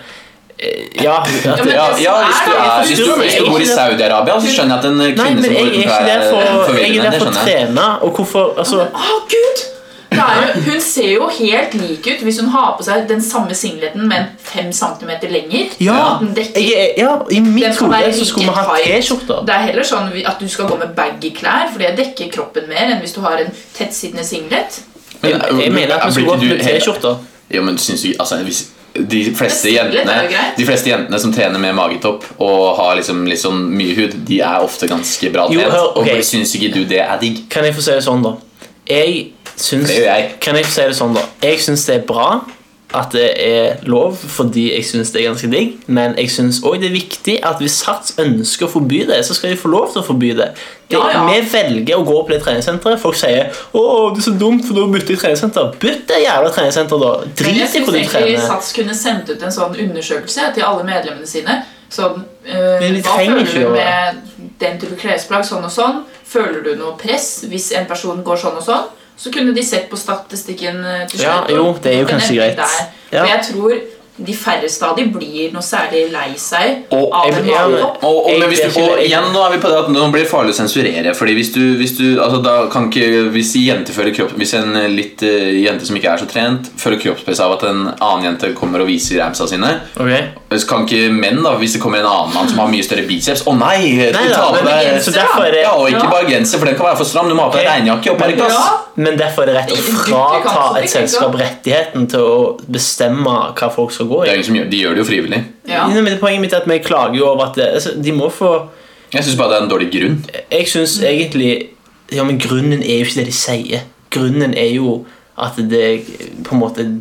[SPEAKER 5] eh, Ja, at,
[SPEAKER 4] men
[SPEAKER 1] Ja,
[SPEAKER 4] det
[SPEAKER 1] ja, hvis, du
[SPEAKER 4] som er da,
[SPEAKER 1] er, hvis, du, hvis du bor i Saudi-Arabia, så skjønner jeg at en eh,
[SPEAKER 5] Nei,
[SPEAKER 1] kvinne
[SPEAKER 5] men
[SPEAKER 1] som
[SPEAKER 5] jeg
[SPEAKER 1] går
[SPEAKER 5] er ikke
[SPEAKER 1] utenfor
[SPEAKER 5] der for,
[SPEAKER 1] er
[SPEAKER 5] jeg er
[SPEAKER 1] forvirrende.
[SPEAKER 5] der
[SPEAKER 1] Det
[SPEAKER 5] for å
[SPEAKER 1] skjønner jeg.
[SPEAKER 5] trene, og hvorfor altså,
[SPEAKER 4] Å, gud! Det er jo, hun ser jo helt lik ut hvis hun har på seg den samme singleten, men fem centimeter lenger.
[SPEAKER 5] ja,
[SPEAKER 4] At den dekker.
[SPEAKER 5] jeg, er- ja, I
[SPEAKER 4] Den
[SPEAKER 5] mitt
[SPEAKER 4] skal
[SPEAKER 5] hode
[SPEAKER 4] være
[SPEAKER 5] så
[SPEAKER 4] like
[SPEAKER 5] skulle vi ha
[SPEAKER 4] tight.
[SPEAKER 5] T-skjorter.
[SPEAKER 4] Det er heller sånn vi- at du skal gå med baggy klær, for det dekker kroppen mer enn hvis du har en tettsittende singlet.
[SPEAKER 1] Men,
[SPEAKER 5] Jeg, jeg mener at vi
[SPEAKER 1] blir
[SPEAKER 5] skulle
[SPEAKER 1] ikke
[SPEAKER 5] gått med
[SPEAKER 1] du helt-
[SPEAKER 5] T-skjorter.
[SPEAKER 1] Ja, men syns du altså, hvis, de, fleste
[SPEAKER 4] Det er litt, det
[SPEAKER 1] jentene,
[SPEAKER 4] er jo greit.
[SPEAKER 1] de fleste jentene som trener med magetopp og har liksom litt sånn mye hud, de er ofte ganske bra
[SPEAKER 5] Jo,
[SPEAKER 1] trent.
[SPEAKER 5] hør, ok.
[SPEAKER 1] Og syns ikke du det er digg?
[SPEAKER 5] Kan jeg få si det sånn, da? Jeg syns
[SPEAKER 1] Det gjør jeg.
[SPEAKER 5] Kan jeg få si det sånn, da? Jeg syns det er bra at det er lov, fordi jeg syns det er ganske digg. Men jeg syns òg det er viktig at hvis Sats ønsker å forby det, så skal de få lov til å forby det. det
[SPEAKER 4] Ja, ja.
[SPEAKER 5] Vi velger å gå på det treningssenteret. Folk sier 'Å, det er så dumt, for da bytter jeg treningssenter'. Bytt det jævla treningssenteret, da.
[SPEAKER 4] Men jeg
[SPEAKER 5] Drit i
[SPEAKER 4] synes
[SPEAKER 5] hvor du
[SPEAKER 4] egentlig
[SPEAKER 5] trener.
[SPEAKER 4] Sats kunne sendt ut en sånn undersøkelse til alle medlemmene sine. Sånn, eh,
[SPEAKER 5] Men vi
[SPEAKER 4] hva
[SPEAKER 5] trenger
[SPEAKER 4] føler
[SPEAKER 5] ikke
[SPEAKER 4] du
[SPEAKER 5] gjøre
[SPEAKER 4] med den type klesplagg, sånn og sånn? Føler du noe press hvis en person går sånn og sånn? Så kunne de sett på statistikken eh, til
[SPEAKER 5] Ja,
[SPEAKER 4] slutt. og
[SPEAKER 5] jo, det er jo
[SPEAKER 4] gjort en
[SPEAKER 5] kanskje
[SPEAKER 4] endring
[SPEAKER 5] greit.
[SPEAKER 4] Der.
[SPEAKER 5] Ja.
[SPEAKER 4] For jeg tror de færreste av de blir noe særlig lei seg
[SPEAKER 5] Og
[SPEAKER 4] av
[SPEAKER 5] jeg-
[SPEAKER 4] en
[SPEAKER 5] jeg-
[SPEAKER 4] valgkopp.
[SPEAKER 1] Og, og, men
[SPEAKER 5] Jeg
[SPEAKER 1] hvis
[SPEAKER 5] vet
[SPEAKER 1] du, og
[SPEAKER 5] ikke- jeg-
[SPEAKER 1] igjen nå er vi på det at nå blir det farlig å sensurere. Fordi hvis du, hvis du altså da kan ikke Hvis en jente føler kropp Hvis en eh, litt eh, jente som ikke er så trent, føler kroppspress av at en annen jente kommer og viser ramsa sine
[SPEAKER 5] Ok?
[SPEAKER 1] så Kan ikke menn, da hvis det kommer en annen mann som har mye større biceps Å nei!
[SPEAKER 5] Nei,
[SPEAKER 1] du
[SPEAKER 5] da,
[SPEAKER 1] tar på
[SPEAKER 5] men
[SPEAKER 1] deg
[SPEAKER 5] genser, så derfor er det-
[SPEAKER 1] Ja, og ikke
[SPEAKER 4] Ja.
[SPEAKER 1] bare genser, for den kan være for stram. Du må ha på deg
[SPEAKER 5] Ok.
[SPEAKER 1] regnjakke og parykk. ass.
[SPEAKER 4] Ja.
[SPEAKER 5] Men derfor er det rett å frata
[SPEAKER 4] Du kan ikke,
[SPEAKER 5] et
[SPEAKER 4] ikke?
[SPEAKER 5] selskap rettigheten til å bestemme hva folk skal gå
[SPEAKER 1] Det
[SPEAKER 5] i.
[SPEAKER 1] er ingen som gjør, de gjør det jo frivillig.
[SPEAKER 4] Ja.
[SPEAKER 5] Nei, men Poenget mitt er at vi klager jo over at det, altså, de må få
[SPEAKER 1] Jeg syns bare det er en dårlig grunn.
[SPEAKER 5] Jeg syns egentlig Ja, men grunnen er jo ikke det de sier. Grunnen er jo at det på en måte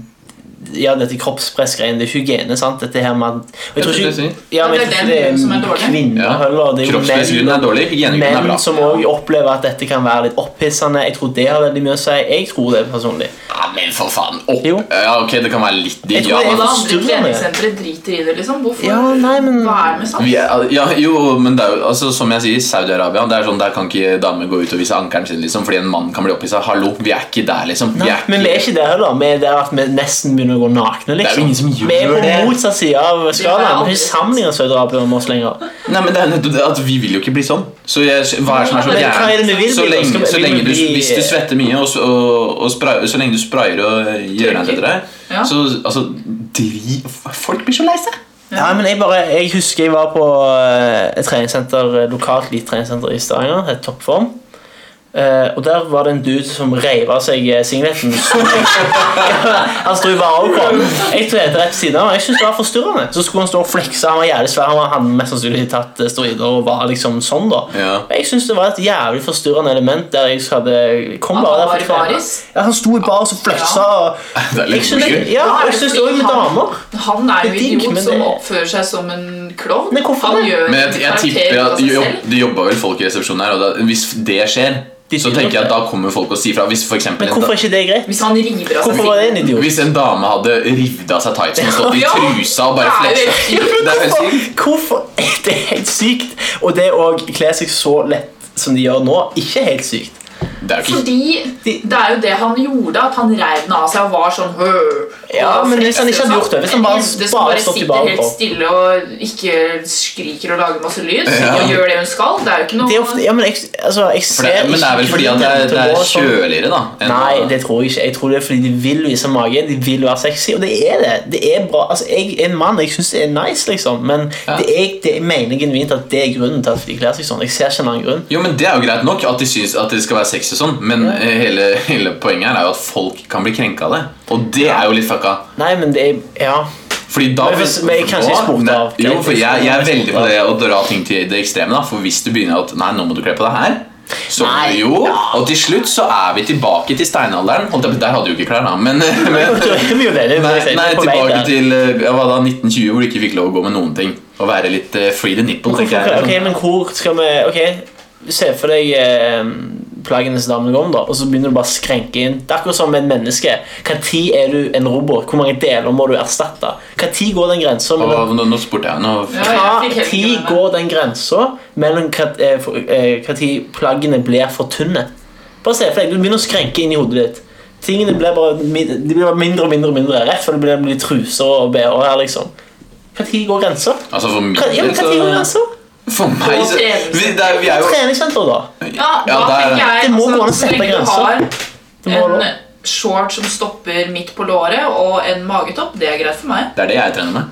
[SPEAKER 5] ja, dette kroppspressgreiene, det er ikke hygiene. sant? Dette her med at og jeg tror
[SPEAKER 1] Det er det jeg
[SPEAKER 5] ikke,
[SPEAKER 1] sier.
[SPEAKER 5] ja, men jeg
[SPEAKER 4] Det er den
[SPEAKER 5] tror ikke det
[SPEAKER 4] grunnen som er
[SPEAKER 5] er
[SPEAKER 4] dårlig.
[SPEAKER 5] kvinner
[SPEAKER 1] Ja.
[SPEAKER 5] heller. Det er jo
[SPEAKER 1] Kroppspressgrunnen
[SPEAKER 5] menn-
[SPEAKER 1] er dårlig, hygienegrunnen er
[SPEAKER 5] menn
[SPEAKER 1] bra.
[SPEAKER 5] som òg opplever at dette kan være litt opphissende. Jeg tror det har veldig mye å si. Jeg tror det personlig.
[SPEAKER 1] Ja, men for faen, opp!
[SPEAKER 5] Jo.
[SPEAKER 1] Ja, ok, det kan være litt
[SPEAKER 5] Jeg
[SPEAKER 1] digg,
[SPEAKER 5] tror
[SPEAKER 1] ja.
[SPEAKER 5] det er
[SPEAKER 1] men-
[SPEAKER 4] Alle andre
[SPEAKER 5] Stum, ja.
[SPEAKER 4] treningssentre driter i det, liksom. Hvorfor?
[SPEAKER 5] Ja, nei, men-
[SPEAKER 4] Hva er det med
[SPEAKER 1] Vi
[SPEAKER 4] sats?
[SPEAKER 1] er, ja, jo, men det er jo, altså, som jeg sier, Saudi-Arabia det er sånn, Der kan ikke damer gå ut og vise ankelen sin liksom, fordi en mann kan bli opphissa. Hallo, vi er ikke der, liksom. Vi
[SPEAKER 5] Nei,
[SPEAKER 1] er
[SPEAKER 5] men vi er ikke der heller. Vi er der at vi nesten begynner å gå nakne. liksom.
[SPEAKER 1] Det er jo ingen som gjør
[SPEAKER 5] vi er på
[SPEAKER 1] det.
[SPEAKER 5] motsatt side av
[SPEAKER 4] Det har jeg
[SPEAKER 5] skalaen. Vi
[SPEAKER 4] aldri
[SPEAKER 5] sammenligner Saudi-Arabia med oss lenger.
[SPEAKER 1] Nei, men det er jo nettopp det at Vi vil jo ikke bli sånn. Så jeg, hva er det som er så
[SPEAKER 5] Men hva er det vi
[SPEAKER 1] gærent?
[SPEAKER 5] vil
[SPEAKER 1] Så
[SPEAKER 5] bli, da? Skal
[SPEAKER 1] lenge,
[SPEAKER 5] vi-
[SPEAKER 1] så
[SPEAKER 5] vi
[SPEAKER 1] lenge
[SPEAKER 5] vil
[SPEAKER 1] du,
[SPEAKER 5] bli-
[SPEAKER 1] hvis du svetter mye, og, s- og, og spray, så lenge du sprayer og gjør deg til det,
[SPEAKER 4] Ja.
[SPEAKER 1] så altså dri, Folk blir så lei seg.
[SPEAKER 5] Ja, men jeg, bare, jeg husker jeg var på eh, et treningssenter, eh, lokalt lite treningssenter i Stavanger, et toppform. Eh, og der var det en dude som reiv av seg eh, singleten. han sto i vareopphold. Jeg tror jeg rett ved siden av. Jeg synes det var forstyrrende. Så skulle han stå og flekse. Han var jævlig svær. Han hadde mest sannsynlig tatt eh, steroider og var liksom sånn, da.
[SPEAKER 1] Ja.
[SPEAKER 5] Og Jeg synes det var et jævlig forstyrrende element der jeg hadde Kom
[SPEAKER 4] At
[SPEAKER 5] bare
[SPEAKER 4] han
[SPEAKER 5] der for
[SPEAKER 4] var i
[SPEAKER 5] å trene.
[SPEAKER 4] baris?
[SPEAKER 5] Ja, han sto i baris og fleksa. og-
[SPEAKER 1] Det er litt
[SPEAKER 5] Jeg synes det-
[SPEAKER 1] weird.
[SPEAKER 5] Ja,
[SPEAKER 4] Hva er
[SPEAKER 5] og jeg
[SPEAKER 4] det
[SPEAKER 5] synes det
[SPEAKER 4] fordi
[SPEAKER 5] også med
[SPEAKER 4] han-
[SPEAKER 5] damer.
[SPEAKER 4] Han er jo
[SPEAKER 5] Det er digg,
[SPEAKER 4] idiot
[SPEAKER 5] men
[SPEAKER 4] som
[SPEAKER 5] det-
[SPEAKER 4] oppfører seg som en klovn.
[SPEAKER 5] Men hvorfor
[SPEAKER 4] han
[SPEAKER 5] det?
[SPEAKER 4] gjør
[SPEAKER 1] Men jeg, jeg
[SPEAKER 4] karakterer
[SPEAKER 1] tipper
[SPEAKER 4] av
[SPEAKER 1] at
[SPEAKER 4] seg
[SPEAKER 1] jo,
[SPEAKER 4] selv.
[SPEAKER 1] det jobber vel folk i resepsjonen her, og da, hvis det skjer,
[SPEAKER 5] De
[SPEAKER 1] så
[SPEAKER 5] sier
[SPEAKER 1] tenker jeg at
[SPEAKER 5] nok
[SPEAKER 1] da kommer folk og sier fra. Hvis for
[SPEAKER 5] Men
[SPEAKER 1] eksempel,
[SPEAKER 5] hvorfor er ikke det greit?
[SPEAKER 4] Hvis han river av seg
[SPEAKER 5] Hvorfor var det en
[SPEAKER 4] fingeren.
[SPEAKER 5] idiot?
[SPEAKER 1] hvis en dame hadde revet av seg tightsen og stått i
[SPEAKER 4] Ja.
[SPEAKER 1] trusa og bare
[SPEAKER 4] Det er jo helt
[SPEAKER 1] fleksa
[SPEAKER 4] sykt.
[SPEAKER 1] Det er helt sykt.
[SPEAKER 5] Hvorfor? Det er helt sykt. Og det å kle seg så lett som de gjør nå, ikke helt sykt.
[SPEAKER 1] Det er jo ikke
[SPEAKER 4] Fordi det er jo det han gjorde, at han reiv den av seg og var sånn hø,
[SPEAKER 5] Ja,
[SPEAKER 4] og
[SPEAKER 5] men hvis han ikke hadde
[SPEAKER 4] sånn.
[SPEAKER 5] gjort det, hvis han bare-
[SPEAKER 4] En jente som
[SPEAKER 5] bare
[SPEAKER 4] bare
[SPEAKER 5] stått i
[SPEAKER 4] sitter
[SPEAKER 5] baren
[SPEAKER 4] helt
[SPEAKER 5] på.
[SPEAKER 4] stille og ikke skriker og lager masse lyd,
[SPEAKER 1] Ja.
[SPEAKER 4] og gjør det hun skal, det er jo ikke noe
[SPEAKER 5] Det er ofte, ja, men jeg, altså, jeg ser
[SPEAKER 1] for det, Men det er vel
[SPEAKER 5] ikke
[SPEAKER 1] fordi at det er,
[SPEAKER 5] grunnen til
[SPEAKER 1] det
[SPEAKER 5] å
[SPEAKER 1] er
[SPEAKER 5] gå sånn.
[SPEAKER 1] kjøligere, da. enn
[SPEAKER 5] Nei,
[SPEAKER 1] å-
[SPEAKER 5] det tror jeg ikke. Jeg tror det er fordi de vil vise mage, de vil være sexy, og det er det. Det er bra. Altså, jeg er en mann, jeg syns det er nice, liksom, men
[SPEAKER 1] Ja.
[SPEAKER 5] det er, det, jeg mener genuint at det er grunnen til at de kler seg sånn. Jeg ser ikke en annen grunn.
[SPEAKER 1] Jo, men Det er jo greit nok at de syns at det skal være sexy, og sånn men eh, hele, hele poenget her er jo at folk kan bli krenka av det. Og det er jo litt fucka.
[SPEAKER 5] Nei, men det er Ja.
[SPEAKER 1] Fordi da
[SPEAKER 5] Men hvis- men jeg kan ikke
[SPEAKER 1] Hva?
[SPEAKER 5] sporte av.
[SPEAKER 1] Nei, Jo, for jeg, jeg er
[SPEAKER 5] Jeg
[SPEAKER 1] veldig på
[SPEAKER 5] sporter
[SPEAKER 1] det å dra ting til det ekstreme. da For hvis du begynner at Nei, nå må du kle på deg her. Så
[SPEAKER 5] Nei.
[SPEAKER 1] jo, Og til slutt så er vi tilbake til steinalderen. Holdt jeg på- Der hadde du jo ikke klær, da. Men,
[SPEAKER 5] Jeg
[SPEAKER 1] men
[SPEAKER 5] tror jo det, det er
[SPEAKER 1] Nei, nei,
[SPEAKER 5] på vei
[SPEAKER 1] tilbake
[SPEAKER 5] der.
[SPEAKER 1] til eh, ja, hva da, 1920, hvor du ikke fikk lov å gå med noen ting. Og være litt eh, free the nipple.
[SPEAKER 5] Hvorfor-
[SPEAKER 1] tenker jeg. liksom.
[SPEAKER 5] ok, men hvor skal vi Ok, se for deg eh, plaggene som damene går om, da, og så begynner du bare å skrenke inn. Det er akkurat som med et menneske. Når er du en robot? Hvor mange deler må du erstatte? Når går den grensa
[SPEAKER 1] Og,
[SPEAKER 5] mellom
[SPEAKER 1] nå, nå spurte jeg. Nå,
[SPEAKER 4] Ja, jeg fikk helt ikke med
[SPEAKER 5] Når
[SPEAKER 4] meg.
[SPEAKER 5] går den grensa mellom hva- eh, for- eh, hva tid plaggene blir for tynne? Bare se for deg, Du begynner å skrenke inn i hodet ditt. Tingene blir bare min- de blir bare mindre og mindre og mindre. Rett før det blir, blir truser og bh her, liksom. Når går grensa?
[SPEAKER 1] Altså for min
[SPEAKER 5] Hva- altså? Ja, men hva tid går
[SPEAKER 1] del,
[SPEAKER 5] grensa?
[SPEAKER 1] så For meg så vi, det er, vi er jo
[SPEAKER 5] Treningssenter, da.
[SPEAKER 4] Ja, da
[SPEAKER 1] Ja, der-
[SPEAKER 4] tenker jeg
[SPEAKER 5] Det må gå an å
[SPEAKER 4] altså, Så
[SPEAKER 5] sette
[SPEAKER 4] lenge du
[SPEAKER 5] grenser.
[SPEAKER 4] har
[SPEAKER 5] Det må
[SPEAKER 4] en
[SPEAKER 5] da.
[SPEAKER 4] short som stopper midt på låret, og en magetopp, det er greit for meg.
[SPEAKER 1] Det er det jeg trener med.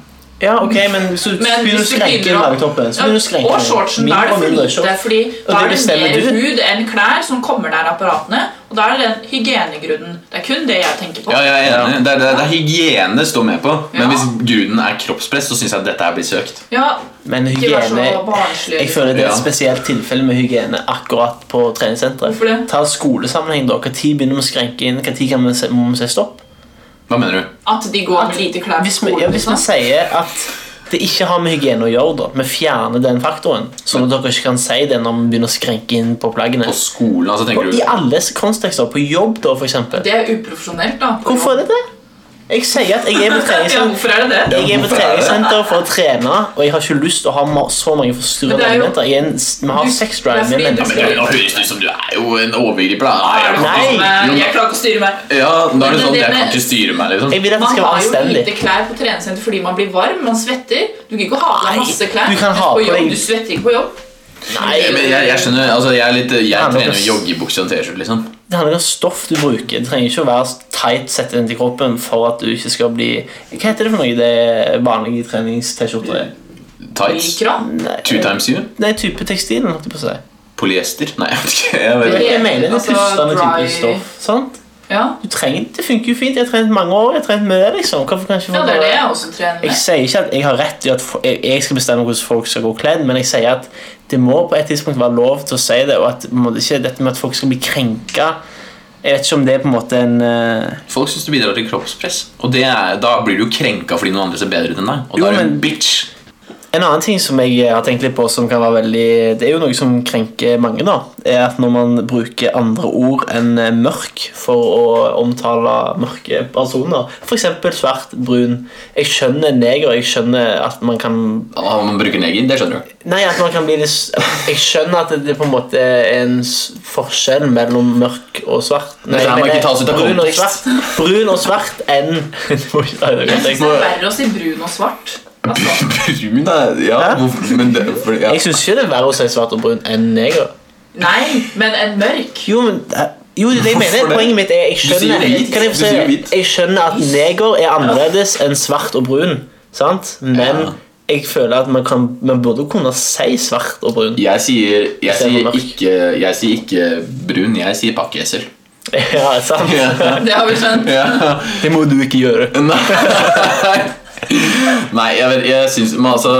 [SPEAKER 5] Ja, ok, men hvis du
[SPEAKER 4] Men
[SPEAKER 5] begynner
[SPEAKER 4] hvis
[SPEAKER 5] å
[SPEAKER 4] du
[SPEAKER 5] skrenke i
[SPEAKER 4] begynner å-
[SPEAKER 5] magetoppen så
[SPEAKER 4] Ja,
[SPEAKER 5] begynner du å skrenke
[SPEAKER 4] Og
[SPEAKER 5] den.
[SPEAKER 4] shortsen, da er
[SPEAKER 5] Mindre
[SPEAKER 4] det
[SPEAKER 5] og
[SPEAKER 4] for
[SPEAKER 5] mindre
[SPEAKER 4] lite.
[SPEAKER 5] shorts.
[SPEAKER 4] Fordi
[SPEAKER 5] Og
[SPEAKER 4] da
[SPEAKER 5] det
[SPEAKER 4] er det
[SPEAKER 5] bestemmer
[SPEAKER 4] mer
[SPEAKER 5] du.
[SPEAKER 4] hud enn klær som kommer der apparatene. Og da er det den hygienegrunnen. Det er kun det jeg tenker på.
[SPEAKER 1] Ja, jeg er enig. Det er, det er, det er hygiene står med på. Men
[SPEAKER 4] Ja.
[SPEAKER 1] hvis grunnen er kroppspress, så syns jeg at dette her blir søkt.
[SPEAKER 4] Ja,
[SPEAKER 5] Men
[SPEAKER 4] Ikke vær så
[SPEAKER 5] hygiene
[SPEAKER 4] barnslig.
[SPEAKER 5] Jeg føler det er et
[SPEAKER 1] Ja.
[SPEAKER 5] spesielt tilfelle med hygiene akkurat på treningssenteret.
[SPEAKER 4] Hvorfor det?
[SPEAKER 5] Ta skolesammenheng, da. Når begynner vi å skrenke inn? Når kan vi se, må vi si stopp?
[SPEAKER 1] Hva mener du?
[SPEAKER 4] At de går med lite klær på
[SPEAKER 5] Hvis vi,
[SPEAKER 4] skolen.
[SPEAKER 5] ja, hvis vi
[SPEAKER 4] liksom.
[SPEAKER 5] sier at det ikke har med hygiene å gjøre, da. Vi fjerner den faktoren. Sånn at dere ikke kan si det når vi begynner å skrenke inn på plaggene.
[SPEAKER 1] På skolen, altså, tenker
[SPEAKER 5] I
[SPEAKER 1] du?
[SPEAKER 5] alle kontekster. På jobb, da, for eksempel.
[SPEAKER 4] Det er uprofesjonelt, da.
[SPEAKER 5] Hvorfor er det det? Jeg sier at jeg er
[SPEAKER 4] Ja,
[SPEAKER 5] på treningssenter.
[SPEAKER 4] hvorfor er det det?
[SPEAKER 5] Jeg er på
[SPEAKER 1] hvorfor er det?
[SPEAKER 5] treningssenter for å trene, og jeg har ikke lyst til å ha ma- så mange forstyrrende
[SPEAKER 4] Men det er jo-
[SPEAKER 5] elementer. Jeg er en, s- vi har
[SPEAKER 4] Du-
[SPEAKER 5] seks
[SPEAKER 4] det er
[SPEAKER 5] drive
[SPEAKER 4] fordi du-
[SPEAKER 1] Men det høres ut som du er jo en overgriper. da. Nei, jeg kan
[SPEAKER 5] Nei.
[SPEAKER 1] ikke- Jo,
[SPEAKER 4] Jeg klarer ikke å styre meg.
[SPEAKER 1] Ja, da er det
[SPEAKER 4] Men
[SPEAKER 1] sånn
[SPEAKER 4] det
[SPEAKER 1] Jeg kan
[SPEAKER 4] med-
[SPEAKER 1] ikke styre meg, liksom.
[SPEAKER 5] Jeg vil at det
[SPEAKER 4] Man
[SPEAKER 5] skal være
[SPEAKER 4] har jo
[SPEAKER 5] anstendig.
[SPEAKER 4] lite klær på treningssenter fordi man blir varm, man svetter. Du kan ikke ha på deg
[SPEAKER 5] Nei,
[SPEAKER 4] masse klær.
[SPEAKER 5] du kan
[SPEAKER 4] mens
[SPEAKER 5] ha
[SPEAKER 4] på
[SPEAKER 5] på deg-
[SPEAKER 4] jobb. Du svetter ikke på jobb.
[SPEAKER 5] Nei,
[SPEAKER 1] Eh, Men jeg, jeg skjønner, altså jeg er litt Jeg
[SPEAKER 5] Ja, men
[SPEAKER 1] trener
[SPEAKER 5] det-
[SPEAKER 1] jo joggebukse og T-skjorte, liksom.
[SPEAKER 5] Det handler om stoff du bruker. Det trenger ikke å være tight sett inn til kroppen for at du ikke skal bli Hva heter det for noe? Det er vanlige trenings-T-skjorter?
[SPEAKER 1] Tights.
[SPEAKER 4] Mikron.
[SPEAKER 5] Nei,
[SPEAKER 1] Two times you.
[SPEAKER 5] Nei, type tekstilen, holdt jeg på å si.
[SPEAKER 1] Polyester. Nei, jeg vet ikke. Jeg vet
[SPEAKER 5] Jeg,
[SPEAKER 1] ikke.
[SPEAKER 5] jeg mener det
[SPEAKER 4] Altså,
[SPEAKER 5] er pustende
[SPEAKER 4] dry-
[SPEAKER 5] type stoff. Sant?
[SPEAKER 4] Ja.
[SPEAKER 5] Du trenger, det funker jo fint. Jeg har trent mange år. Jeg har trent mye, liksom. Hvorfor kan jeg ikke
[SPEAKER 4] ja,
[SPEAKER 5] få
[SPEAKER 4] det er det
[SPEAKER 5] bare-
[SPEAKER 4] jeg også trener
[SPEAKER 5] Jeg
[SPEAKER 4] med.
[SPEAKER 5] sier ikke at jeg har rett i at fo- jeg jeg skal bestemme hvordan folk skal gå kledd, men jeg sier at det må på et tidspunkt være lov til å si det, og at må det ikke dette med at folk skal bli krenka Jeg vet ikke om det er på en måte en eh,
[SPEAKER 1] Folk syns du bidrar til kroppspress, og det er, da blir du jo krenka fordi noen andre ser bedre ut enn deg. Og
[SPEAKER 5] Jo,
[SPEAKER 1] da er du en
[SPEAKER 5] men-
[SPEAKER 1] bitch.
[SPEAKER 5] En annen ting som jeg har tenkt litt på som kan være veldig Det er jo noe som krenker mange, da. Er at når man bruker andre ord enn eh, mørk for å omtale mørke personer, f.eks. svart, brun Jeg skjønner neger, jeg skjønner at man kan
[SPEAKER 1] Ah, man bruker neger, det skjønner du.
[SPEAKER 5] Nei, at man kan bli litt s- Jeg skjønner at det på en måte er en s- forskjell mellom mørk og svart. Nei,
[SPEAKER 1] Det er
[SPEAKER 5] jeg
[SPEAKER 1] man
[SPEAKER 5] mener
[SPEAKER 1] ikke tas ut av
[SPEAKER 5] brun og
[SPEAKER 1] kontekst.
[SPEAKER 5] svart. Brun og svart enn Du må ikke ta ut av
[SPEAKER 4] Jeg synes det
[SPEAKER 5] kontekst.
[SPEAKER 4] er verre å si brun og svart. Altså,
[SPEAKER 1] Brun er Ja,
[SPEAKER 5] Hæ?
[SPEAKER 1] hvorfor men det, for, ja.
[SPEAKER 5] Jeg syns ikke det er verre å si svart og brun enn neger.
[SPEAKER 4] nei, men en mørk.
[SPEAKER 5] Jo, men eh, jo, det jeg mener,
[SPEAKER 1] Hvorfor det?
[SPEAKER 5] Poenget mitt er jeg
[SPEAKER 1] sier
[SPEAKER 5] skjønner,
[SPEAKER 1] hvit.
[SPEAKER 5] kan jeg, få
[SPEAKER 1] Du sier
[SPEAKER 5] si,
[SPEAKER 1] hvit.
[SPEAKER 5] jeg skjønner at neger er annerledes enn svart og brun, sant? men
[SPEAKER 1] Ja.
[SPEAKER 5] jeg føler at man, kan, man burde kunne si svart og brun.
[SPEAKER 1] Jeg sier, jeg,
[SPEAKER 5] Istedenfor
[SPEAKER 1] sier
[SPEAKER 5] mørk.
[SPEAKER 1] ikke, jeg sier ikke brun, jeg sier pakkeesel.
[SPEAKER 5] Ja, sant?
[SPEAKER 4] Det har vi skjønt.
[SPEAKER 1] Ja.
[SPEAKER 5] Det må du ikke gjøre.
[SPEAKER 1] Nei, Nei jeg, vet, jeg synes, men altså,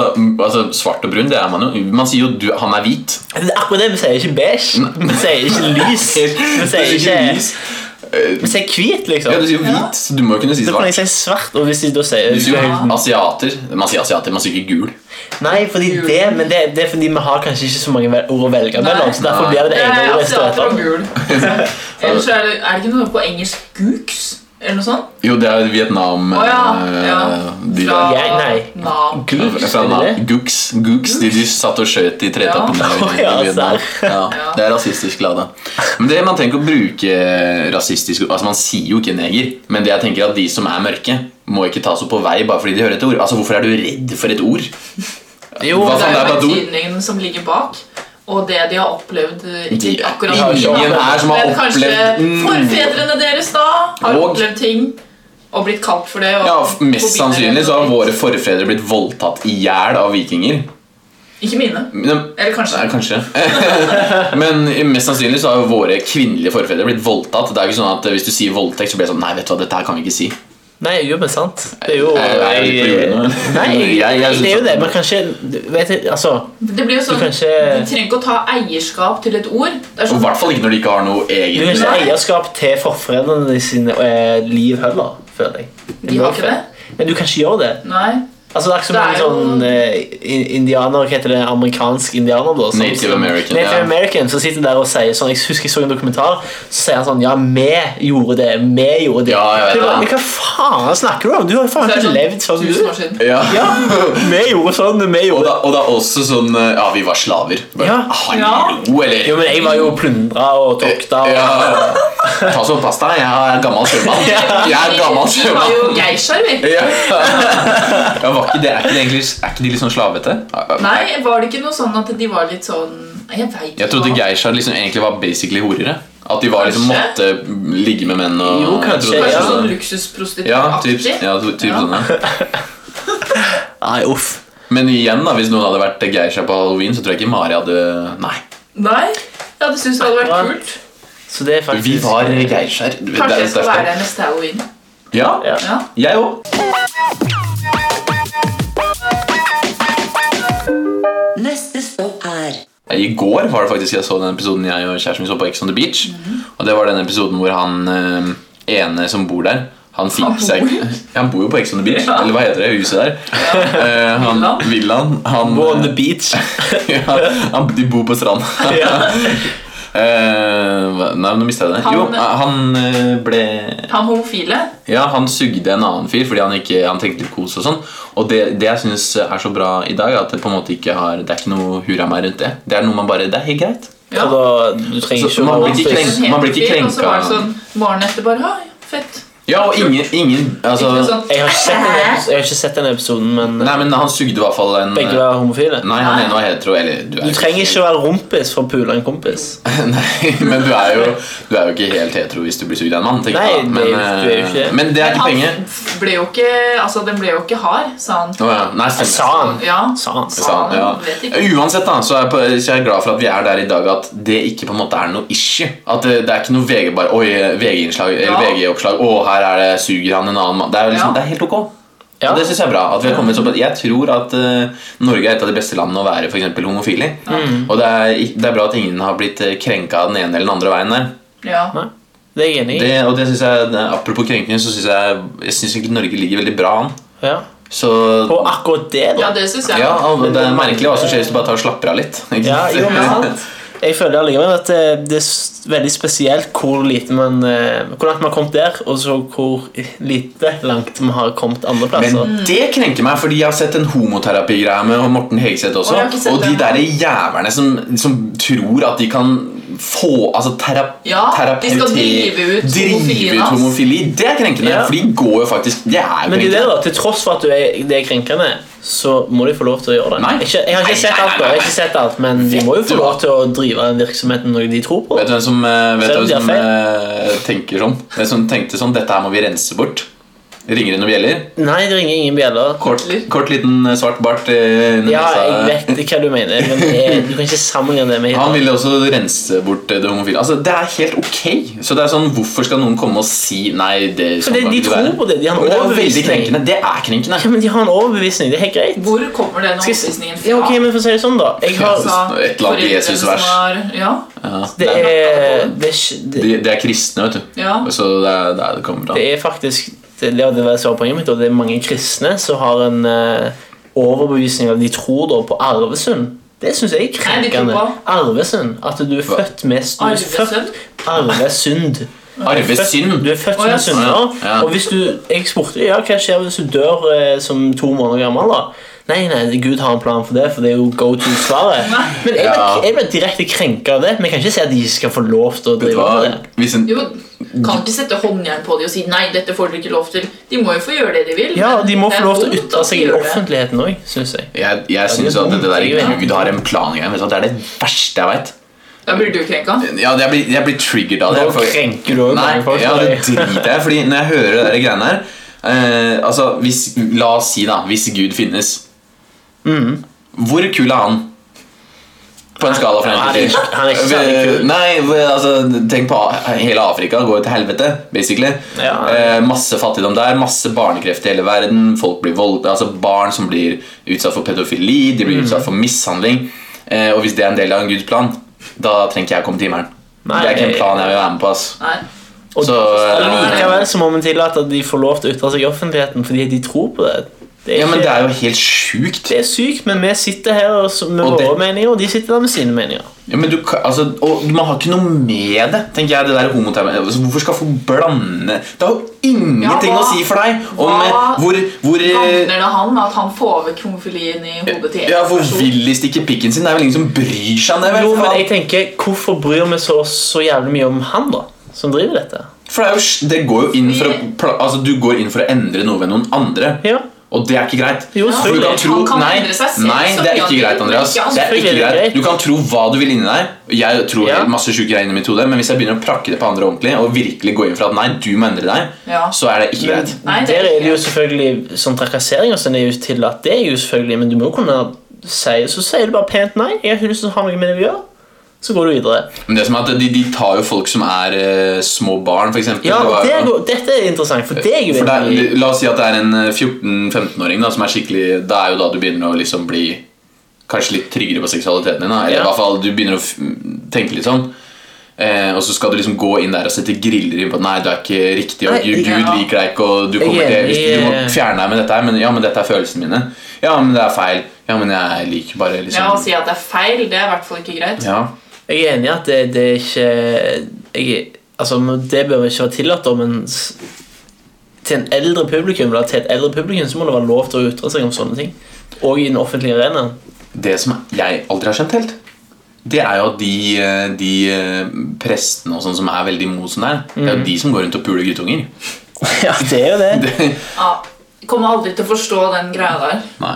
[SPEAKER 1] altså Svart og brun, det er man jo. Man sier jo du, han er hvit.
[SPEAKER 5] Det er akkurat det, Vi sier ikke beige, vi sier ikke lys. Vi
[SPEAKER 1] Det
[SPEAKER 5] sier
[SPEAKER 1] er
[SPEAKER 5] ikke
[SPEAKER 1] lys.
[SPEAKER 5] Vi sier hvit,
[SPEAKER 1] Eh, Ja, du
[SPEAKER 5] liksom.
[SPEAKER 1] sier jo hvit, så du må jo kunne si
[SPEAKER 5] Da kan jeg
[SPEAKER 1] svart.
[SPEAKER 5] si svart, og hvis de da sier
[SPEAKER 1] Du sier jo asiater. Man sier asiater, man sier ikke gul.
[SPEAKER 5] Nei, fordi det, men det, det er fordi vi har kanskje ikke så mange vel- ord å velge mellom. Så derfor blir det det
[SPEAKER 4] Nei, altså,
[SPEAKER 5] ene ordet
[SPEAKER 4] asiater og
[SPEAKER 5] støtende.
[SPEAKER 4] gul. Ellers er det, er det ikke noe på engelsk gooks? Eller noe sånt?
[SPEAKER 1] Jo, det er Vietnam
[SPEAKER 4] Å ja.
[SPEAKER 1] eh,
[SPEAKER 4] ja.
[SPEAKER 1] De
[SPEAKER 4] Fra
[SPEAKER 1] der.
[SPEAKER 5] Ja, nei.
[SPEAKER 4] Nam.
[SPEAKER 5] Gud,
[SPEAKER 1] Fra
[SPEAKER 5] er det det?
[SPEAKER 1] Nam- Gooks, Gooks, de de satt og skjøt i tretappen.
[SPEAKER 4] Ja.
[SPEAKER 1] der i-
[SPEAKER 5] Å, ja,
[SPEAKER 1] i Vietnam.
[SPEAKER 5] serr.
[SPEAKER 1] Ja, det er rasistisk lada. Men det Man trenger ikke å bruke rasistisk Altså Man sier jo ikke neger, men det jeg tenker at de som er mørke, må ikke ta så på vei bare fordi de hører et ord. Altså Hvorfor er du redd for et ord?
[SPEAKER 5] Jo,
[SPEAKER 1] Hva faen,
[SPEAKER 4] Det
[SPEAKER 1] det
[SPEAKER 4] er
[SPEAKER 1] er
[SPEAKER 4] jo
[SPEAKER 1] bare et ord?
[SPEAKER 4] betydningen som ligger bak, og det de har opplevd eh,
[SPEAKER 1] De-
[SPEAKER 4] ikke akkurat
[SPEAKER 5] har ikke
[SPEAKER 1] Ingen
[SPEAKER 5] opplevd-
[SPEAKER 1] her som har
[SPEAKER 4] Men kanskje
[SPEAKER 1] opplevd
[SPEAKER 4] forfedrene deres da har
[SPEAKER 1] Og-
[SPEAKER 4] opplevd ting og blitt kalt for det. Og
[SPEAKER 1] ja, f- Mest
[SPEAKER 4] forbinder det
[SPEAKER 1] sannsynlig så har
[SPEAKER 4] med-
[SPEAKER 1] våre forfedre blitt voldtatt i hjel av vikinger.
[SPEAKER 4] Ikke mine.
[SPEAKER 1] Men-
[SPEAKER 4] Eller kanskje.
[SPEAKER 1] Nei, kanskje. Men eh, mest sannsynlig så har jo våre kvinnelige forfedre blitt voldtatt. Det er jo ikke sånn at Hvis du sier voldtekt, så blir det sånn Nei, vet du hva, dette her kan vi ikke si.
[SPEAKER 5] Nei, jo, men sant. Det er jo
[SPEAKER 1] Jeg- jeg er litt på jordet nå.
[SPEAKER 5] Nei,
[SPEAKER 1] Jeg- jeg synes
[SPEAKER 5] det er jo
[SPEAKER 1] at-
[SPEAKER 5] det, men kanskje Vet du, altså
[SPEAKER 4] Det blir jo sånn,
[SPEAKER 5] Du kan ikke-
[SPEAKER 4] Du trenger ikke å ta eierskap til et ord. Det er
[SPEAKER 1] Og I
[SPEAKER 4] sånn,
[SPEAKER 1] hvert fall ikke når de ikke har noe
[SPEAKER 5] Du kan ikke ha
[SPEAKER 1] eget
[SPEAKER 5] eierskap til forforeldrene dine sine eh, liv heller, føler jeg.
[SPEAKER 4] De har ikke det?
[SPEAKER 5] Men du kan ikke gjøre det.
[SPEAKER 4] nei.
[SPEAKER 5] Altså, det er ikke så
[SPEAKER 4] Det er
[SPEAKER 5] mange
[SPEAKER 4] jo-
[SPEAKER 5] sånn eh, in- indianer, hva heter det, amerikansk indianer da? som-
[SPEAKER 1] Native American,
[SPEAKER 5] Native
[SPEAKER 1] ja.
[SPEAKER 5] American, som sitter der og sier sånn, jeg husker jeg så en dokumentar, så sier han sånn, ja, vi gjorde det, vi gjorde det.
[SPEAKER 1] Ja, jeg vet
[SPEAKER 5] Det er bare,
[SPEAKER 1] det.
[SPEAKER 5] Men hva faen snakker du om? Du har jo faen
[SPEAKER 4] Det er
[SPEAKER 5] ikke
[SPEAKER 4] sånn
[SPEAKER 5] levd sånn som
[SPEAKER 4] tusen år
[SPEAKER 5] du.
[SPEAKER 4] siden.
[SPEAKER 1] Ja.
[SPEAKER 5] Ja, vi gjorde sånn, vi
[SPEAKER 1] Og,
[SPEAKER 5] gjorde
[SPEAKER 1] da, og da også sånn eh, Ja, vi var slaver. Bare, «Ah,
[SPEAKER 5] Ja.
[SPEAKER 1] Hallo, eller
[SPEAKER 5] Jo, men jeg var jo plundra og tokta. Og...
[SPEAKER 1] ja. Ta sånn pasta. Jeg er gammel sjømann. Jeg er gammel
[SPEAKER 4] Vi var
[SPEAKER 1] sjømann.
[SPEAKER 4] jo geishaer, vi.
[SPEAKER 1] Ja. Ja, var ikke det, er, ikke det egentlig, er ikke de litt sånn slavete?
[SPEAKER 4] Nei, var det ikke noe sånn at de var litt sånn Jeg vet ikke.
[SPEAKER 1] Jeg trodde
[SPEAKER 4] hva-
[SPEAKER 1] geishaer liksom egentlig var basically horere. At de var liksom måtte
[SPEAKER 4] Kanskje?
[SPEAKER 1] ligge med menn og
[SPEAKER 5] Jo, kanskje,
[SPEAKER 1] Jeg trodde det var
[SPEAKER 4] Kanskje
[SPEAKER 5] Ja.
[SPEAKER 4] sånn
[SPEAKER 1] Ja, typ,
[SPEAKER 4] luksusprostituttaktig.
[SPEAKER 1] ja, typ
[SPEAKER 4] Ja.
[SPEAKER 1] sånn, ja.
[SPEAKER 5] Nei, uff.
[SPEAKER 1] Men igjen, da, hvis noen hadde vært geisha på halloween, så tror jeg ikke Mari hadde Nei.
[SPEAKER 4] Nei, jeg hadde syntes det hadde vært
[SPEAKER 5] Ja.
[SPEAKER 4] kult.
[SPEAKER 5] Så det er faktisk
[SPEAKER 1] Vi var geishaer. Det-
[SPEAKER 4] Kanskje
[SPEAKER 1] det
[SPEAKER 4] jeg
[SPEAKER 1] er
[SPEAKER 4] skal
[SPEAKER 1] derfor.
[SPEAKER 4] være der neste halloween.
[SPEAKER 1] Ja,
[SPEAKER 5] Ja.
[SPEAKER 4] Ja.
[SPEAKER 1] jeg òg.
[SPEAKER 3] Neste stopp er
[SPEAKER 1] I går var det faktisk jeg så den episoden jeg og kjæresten min så på Ex on the Beach.
[SPEAKER 4] Mhm.
[SPEAKER 1] Og det var den episoden hvor han eh, ene som bor der han, fikk
[SPEAKER 4] Han bor?
[SPEAKER 1] Seg, Ja, han bor jo på Ex on the Beach,
[SPEAKER 4] Ja.
[SPEAKER 1] eller hva heter det huset der? Eh, han,
[SPEAKER 4] Villaen.
[SPEAKER 1] Villaen. Han,
[SPEAKER 5] Go on the beach.
[SPEAKER 1] ja, han, de bor på stranda.
[SPEAKER 5] Ja.
[SPEAKER 1] Eh, hva- nei, nå mista jeg det.
[SPEAKER 4] Han-
[SPEAKER 1] jo, eh, han eh, ble
[SPEAKER 4] Han homofile
[SPEAKER 1] Ja, han sugde en annen fyr fordi han, ikke, han trengte litt kos og sånn. Og det, det jeg syns er så bra i dag, er at det på en måte ikke har Det er ikke noe hurra meg rundt det. Det er noe man bare Det er helt greit.
[SPEAKER 4] ja.
[SPEAKER 5] Og da, du
[SPEAKER 1] Så-
[SPEAKER 5] trenger ikke
[SPEAKER 1] man
[SPEAKER 5] å
[SPEAKER 1] blir ikke
[SPEAKER 5] overbevise.
[SPEAKER 1] krenkt. Man blir ikke
[SPEAKER 4] Og så var det
[SPEAKER 1] krenka.
[SPEAKER 4] sånn morgenen etter bare «Å, ja, fett.
[SPEAKER 1] Ja, og ingen, ingen
[SPEAKER 4] Ikke
[SPEAKER 1] altså,
[SPEAKER 4] sånn,
[SPEAKER 5] Jeg har ikke sett den, epis- jeg har ikke sett den episoden, men
[SPEAKER 1] Nei, men han sugde i hvert fall en
[SPEAKER 5] begge var homofile.
[SPEAKER 1] Nei, han ene var hetero. Eller du er
[SPEAKER 5] Du
[SPEAKER 1] jo
[SPEAKER 5] trenger ikke å være rompis for å pule en kompis.
[SPEAKER 1] Nei, men du er, jo, du er jo ikke helt hetero hvis du blir sugd av en mann. tenker
[SPEAKER 5] Nei,
[SPEAKER 1] jeg da.
[SPEAKER 5] det
[SPEAKER 1] men,
[SPEAKER 5] er jo- du er jo ikke
[SPEAKER 1] eh,
[SPEAKER 5] det.
[SPEAKER 1] men det er ikke
[SPEAKER 4] Men han
[SPEAKER 1] penger.
[SPEAKER 4] ble jo ikke Altså, den ble jo ikke hard, sa han.
[SPEAKER 1] Å ja. Nei, stemmer.
[SPEAKER 5] Altså, Sa han.
[SPEAKER 4] Ja.
[SPEAKER 5] Sa han.
[SPEAKER 1] Sa han,
[SPEAKER 4] Vet
[SPEAKER 1] ja.
[SPEAKER 4] ikke.
[SPEAKER 1] Uansett da, så er, jeg på, så er jeg glad for at vi er der i dag at det ikke på en måte er noe issue. At det, det er ikke noe VG bare, oi, VG-innslag eller
[SPEAKER 4] Ja.
[SPEAKER 1] VG-oppslag. Å, her er det, suger han en annen mann. Det er, liksom,
[SPEAKER 4] Ja.
[SPEAKER 1] det er helt ok.
[SPEAKER 5] Ja.
[SPEAKER 1] Og det synes jeg er bra. at vi har kommet så, Jeg tror at eh, Norge er et av de beste landene å være for eksempel homofil i. Og det er, ikk- det er bra at ingen har blitt eh, krenka den ene eller den andre veien der.
[SPEAKER 4] Ja.
[SPEAKER 5] Nei, det er jeg enig i.
[SPEAKER 1] Det, og det synes jeg, det- Apropos krenking, så syns jeg, jeg synes egentlig Norge ligger veldig bra an.
[SPEAKER 5] Ja.
[SPEAKER 1] Så
[SPEAKER 5] På akkurat det, da.
[SPEAKER 4] ja, det syns jeg.
[SPEAKER 1] ja, og det er merkelig hva som skjer hvis du bare tar og slapper av litt. ikke
[SPEAKER 5] Ja,
[SPEAKER 1] sant?
[SPEAKER 5] jo, men sant. Jeg føler allikevel at det, det er s- veldig spesielt hvor lite man eh, Hvor langt man har kommet der, og så hvor lite langt man har kommet andre
[SPEAKER 1] Men
[SPEAKER 5] plasser.
[SPEAKER 1] det krenker meg, fordi jeg har sett en homoterapigreie med Morten Hegseth også.
[SPEAKER 4] Å, jeg har ikke sett
[SPEAKER 1] Og de
[SPEAKER 4] den.
[SPEAKER 1] der jævlene som, som tror at de kan få Altså terap
[SPEAKER 4] Ja, de skal
[SPEAKER 1] terapeuti-
[SPEAKER 4] drive ut
[SPEAKER 1] drive
[SPEAKER 4] homofilien
[SPEAKER 1] ut
[SPEAKER 4] hans.
[SPEAKER 1] homofili. Det er krenkende,
[SPEAKER 5] Ja.
[SPEAKER 1] for de går jo faktisk Det er jo
[SPEAKER 5] Men det er det
[SPEAKER 1] krenkende.
[SPEAKER 5] da, til tross for at du er, det er krenkende, så må de få lov til å gjøre det.
[SPEAKER 1] Nei.
[SPEAKER 5] Ikke, jeg har
[SPEAKER 1] Nei,
[SPEAKER 5] ikke sett
[SPEAKER 1] nei,
[SPEAKER 5] alt, da. jeg har ikke sett alt, men de må jo
[SPEAKER 1] Vet
[SPEAKER 5] få
[SPEAKER 1] du
[SPEAKER 5] lov til å drive den virksomheten noe de tror på.
[SPEAKER 1] Vet du hvem som, eh, vet
[SPEAKER 5] Selv
[SPEAKER 1] du hvem
[SPEAKER 5] om de har
[SPEAKER 1] som eh, tenker sånn? Hvem som tenkte sånn Dette her må vi rense bort. Ringer det noen bjeller?
[SPEAKER 5] Nei, det ringer ingen bjeller.
[SPEAKER 1] Kort, kort liten eh, svart bart. eh, under
[SPEAKER 5] Ja, jeg
[SPEAKER 1] nesa.
[SPEAKER 5] vet hva du mener, men jeg, du kan ikke sammenligne det med
[SPEAKER 1] Han ville også rense bort det homofile. Altså, Det er helt ok. Så det er sånn, Hvorfor skal noen komme og si nei? det sånn
[SPEAKER 5] Fordi
[SPEAKER 1] kan
[SPEAKER 5] de
[SPEAKER 1] ikke
[SPEAKER 5] tror
[SPEAKER 1] være.
[SPEAKER 5] på det, de har en
[SPEAKER 1] Og det er jo veldig
[SPEAKER 5] overbevisning.
[SPEAKER 1] krenkende. Det er krenkende.
[SPEAKER 5] Ja, men de har en overbevisning. Det er helt greit.
[SPEAKER 4] Hvor kommer den
[SPEAKER 5] Skal jeg s-
[SPEAKER 4] overbevisningen fra?
[SPEAKER 5] Ja, ok, men for å si det sånn, da. Jeg
[SPEAKER 4] Sa
[SPEAKER 5] har,
[SPEAKER 1] Et eller annet
[SPEAKER 4] foreldrene som
[SPEAKER 1] Jesusvers.
[SPEAKER 4] har- Ja,
[SPEAKER 1] Ja,
[SPEAKER 5] det,
[SPEAKER 1] det er,
[SPEAKER 5] er, det, er, ikke- det,
[SPEAKER 1] de, de er kristne, vet du.
[SPEAKER 4] ja.
[SPEAKER 1] Så det er der det kommer fra.
[SPEAKER 5] det er faktisk Det det var det var svarpoenget mitt, og det er mange kristne som har en eh, overbevisning av at de tror da på arvesund. Det syns jeg er
[SPEAKER 4] Nei, de tror
[SPEAKER 5] krenkende.
[SPEAKER 4] på-
[SPEAKER 5] Arvesund. At du er
[SPEAKER 1] Hva?
[SPEAKER 5] født med du er
[SPEAKER 4] Arvesønn?
[SPEAKER 5] født- Arvesynd.
[SPEAKER 1] Arvesynd.
[SPEAKER 5] Du er
[SPEAKER 4] Å,
[SPEAKER 5] født som
[SPEAKER 4] ja.
[SPEAKER 5] en synder.
[SPEAKER 1] Ja.
[SPEAKER 5] Og hvis du Jeg spurte ja, hva skjer hvis du dør eh, som to måneder gammel. da? Nei, nei, Gud har en plan for det, for det er jo go to-svaret.
[SPEAKER 4] Nei.
[SPEAKER 5] Men jeg,
[SPEAKER 1] Ja.
[SPEAKER 5] ble- jeg ble direkte krenka av det. Men jeg kan ikke si at de skal få lov til
[SPEAKER 1] Vet
[SPEAKER 5] å
[SPEAKER 1] du
[SPEAKER 5] drive
[SPEAKER 1] hva?
[SPEAKER 5] med det.
[SPEAKER 1] Hvis en,
[SPEAKER 4] Jo, kan ikke sette håndjern på dem og si nei, dette får dere ikke lov til. De må jo få gjøre det de vil.
[SPEAKER 5] Ja,
[SPEAKER 4] men
[SPEAKER 5] De må
[SPEAKER 4] det
[SPEAKER 5] få
[SPEAKER 4] er
[SPEAKER 5] lov til å
[SPEAKER 4] dumt
[SPEAKER 5] ytre
[SPEAKER 4] at de
[SPEAKER 5] seg i
[SPEAKER 4] gjør det.
[SPEAKER 5] offentligheten òg, syns jeg.
[SPEAKER 1] jeg jeg syns
[SPEAKER 5] det
[SPEAKER 1] at
[SPEAKER 5] er
[SPEAKER 1] det
[SPEAKER 5] dumt,
[SPEAKER 1] der
[SPEAKER 5] det er jo-
[SPEAKER 1] Gud har en plan igjen. vet du hva? Det er det verste jeg veit.
[SPEAKER 4] Da blir du krenka.
[SPEAKER 1] Ja, jeg blir, jeg blir triggered av det.
[SPEAKER 5] Da
[SPEAKER 1] for-
[SPEAKER 5] krenker du òg
[SPEAKER 1] Nei,
[SPEAKER 5] mange folk.
[SPEAKER 1] ja,
[SPEAKER 5] tror
[SPEAKER 1] det
[SPEAKER 5] jeg.
[SPEAKER 1] driter jeg Fordi når jeg hører det der greiene her eh, Altså, hvis, la oss si da Hvis Gud finnes
[SPEAKER 5] Mhm.
[SPEAKER 1] Hvor kul er han? På en skala fra 1
[SPEAKER 5] Han er
[SPEAKER 1] til
[SPEAKER 5] ikke-
[SPEAKER 1] 10
[SPEAKER 5] han er ikke særlig kul.
[SPEAKER 1] Nei, altså, tenk på hele Afrika går til helvete, basically.
[SPEAKER 5] Ja.
[SPEAKER 1] Eh, masse fattigdom der, masse barnekreft i hele verden. Folk blir vold, altså Barn som blir utsatt for pedofili, de blir
[SPEAKER 4] Mm.
[SPEAKER 1] utsatt for mishandling. Eh, og hvis det er en del av en Guds plan, da trenger ikke jeg å komme til himmelen.
[SPEAKER 5] Nei.
[SPEAKER 1] Det er ikke en plan jeg vil være med på. ass
[SPEAKER 4] Nei.
[SPEAKER 5] Og
[SPEAKER 1] Så, eh,
[SPEAKER 5] Likevel så må vi tillate at de får lov til å ytre seg i offentligheten fordi de tror på det. Det er,
[SPEAKER 1] Ja, men
[SPEAKER 5] ikke-
[SPEAKER 1] det er jo helt sjukt.
[SPEAKER 5] det er sykt, men vi sitter her og så- med
[SPEAKER 1] Og det-
[SPEAKER 5] våre meninger, og de sitter der med sine meninger.
[SPEAKER 1] Ja, men du, kan- altså, og man har ikke noe med det, tenker jeg. det der homoterapi- altså, Hvorfor skal folk blande Det har jo ingenting
[SPEAKER 4] Ja, hva-
[SPEAKER 1] å si for deg om
[SPEAKER 4] hva-
[SPEAKER 1] eh, hvor, hvor eh,
[SPEAKER 4] Handler det han at han får vekk homofilien i hodet til en
[SPEAKER 1] ja, Hvor
[SPEAKER 4] person?
[SPEAKER 1] vil de stikke pikken sin? Det er vel ingen som bryr seg om det? vel,
[SPEAKER 5] Jo, men
[SPEAKER 1] faen?
[SPEAKER 5] jeg tenker, Hvorfor bryr vi så, så jævlig mye om han da, som driver dette?
[SPEAKER 1] For det, er jo, sj- det går jo inn for å, pla- altså, Du går inn for å endre noe ved noen andre.
[SPEAKER 5] Ja,
[SPEAKER 1] Og det er ikke greit.
[SPEAKER 5] Jo,
[SPEAKER 1] For du
[SPEAKER 5] selvfølgelig.
[SPEAKER 1] kan tro,
[SPEAKER 4] Han kan
[SPEAKER 1] nei,
[SPEAKER 4] endre seg selv,
[SPEAKER 1] nei, det
[SPEAKER 4] så
[SPEAKER 1] er
[SPEAKER 4] mye han
[SPEAKER 1] ikke
[SPEAKER 4] vil,
[SPEAKER 1] greit,
[SPEAKER 4] men
[SPEAKER 1] Andreas.
[SPEAKER 4] ikke han.
[SPEAKER 1] Det er ikke
[SPEAKER 5] Selvfølgelig er det
[SPEAKER 1] greit.
[SPEAKER 5] greit.
[SPEAKER 1] Du kan tro hva du vil inni deg. Jeg tror
[SPEAKER 5] Ja.
[SPEAKER 1] masse sjuke greier inni mitt hode, men hvis jeg begynner å prakke det på andre ordentlig, og virkelig gå inn for at nei, du må endre deg,
[SPEAKER 4] Ja.
[SPEAKER 1] så er det ikke
[SPEAKER 5] men
[SPEAKER 1] greit.
[SPEAKER 4] Nei, det er
[SPEAKER 5] Der er det jo
[SPEAKER 4] ikke-
[SPEAKER 5] selvfølgelig sånn trakassering og sånn er jo tillatt, det er jo selvfølgelig, men du må jo kunne si Så sier du bare pent nei. jeg har ikke lyst til å ha noe med det å gjøre. Så går du videre.
[SPEAKER 1] Men det som er at de, de tar jo folk som er eh, små barn, for eksempel.
[SPEAKER 5] Ja,
[SPEAKER 1] Det var-
[SPEAKER 5] det går, Dette er interessant, for det er jo
[SPEAKER 1] for det
[SPEAKER 5] egentlig
[SPEAKER 1] er, La oss si at det er en eh, 14-15-åring da, som er skikkelig Det er jo da du begynner å liksom bli Kanskje litt tryggere på seksualiteten din. Da. Eller
[SPEAKER 5] Ja.
[SPEAKER 1] i hvert fall du begynner å f tenke litt sånn. Eh, og så skal du liksom gå inn der og sette griller inn på at nei, du er ikke riktig, og
[SPEAKER 5] Nei,
[SPEAKER 1] Gud
[SPEAKER 5] ja.
[SPEAKER 1] liker deg ikke, og du
[SPEAKER 5] Jeg
[SPEAKER 1] kommer
[SPEAKER 5] er
[SPEAKER 1] til hvis Du må
[SPEAKER 5] enig.
[SPEAKER 1] fjerne deg med dette her, men ja, men dette er følelsene mine. Ja, men det er feil. Ja, men jeg liker bare
[SPEAKER 4] Ja, altså, Å
[SPEAKER 1] liksom
[SPEAKER 4] si at det er feil, det er i hvert fall ikke greit.
[SPEAKER 1] Ja.
[SPEAKER 5] Jeg er enig i at det, det er ikke jeg, altså, men Det bør ikke være tillatt, da, men s- til en eldre publikum eller til et eldre publikum så må det være lov til å ytre seg om sånne ting. Og i den offentlige arenaen.
[SPEAKER 1] Det som jeg aldri har skjønt helt, det er jo at de, eh, de eh, prestene og sånn som er veldig imot sånn der, det er jo de som går rundt og puler guttunger.
[SPEAKER 5] ja, det er jo det.
[SPEAKER 1] Det,
[SPEAKER 4] Ja, kommer aldri til å forstå den greia der.
[SPEAKER 1] nei.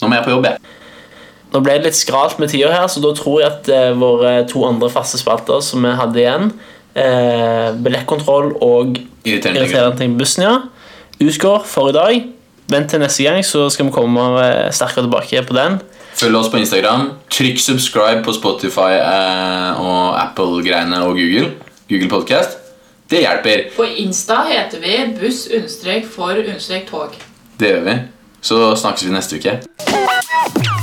[SPEAKER 1] Nå må jeg på jobb, jeg.
[SPEAKER 5] Nå ble det litt skralt med tida her, så da tror jeg at eh, våre to andre faste spalter som vi hadde igjen, eh, billettkontroll og
[SPEAKER 1] Irriterende.
[SPEAKER 5] irriterende ting på bussen, ja, utgår for i dag. Vent til neste gang, så skal vi komme eh, sterkere tilbake på den.
[SPEAKER 1] Følg oss på Instagram. Trykk subscribe på Spotify eh, og Apple-greiene og Google. Google Podcast. Det hjelper.
[SPEAKER 4] På Insta heter vi buss understrek for understrek tog.
[SPEAKER 1] Det gjør vi. Så snakkes vi neste uke.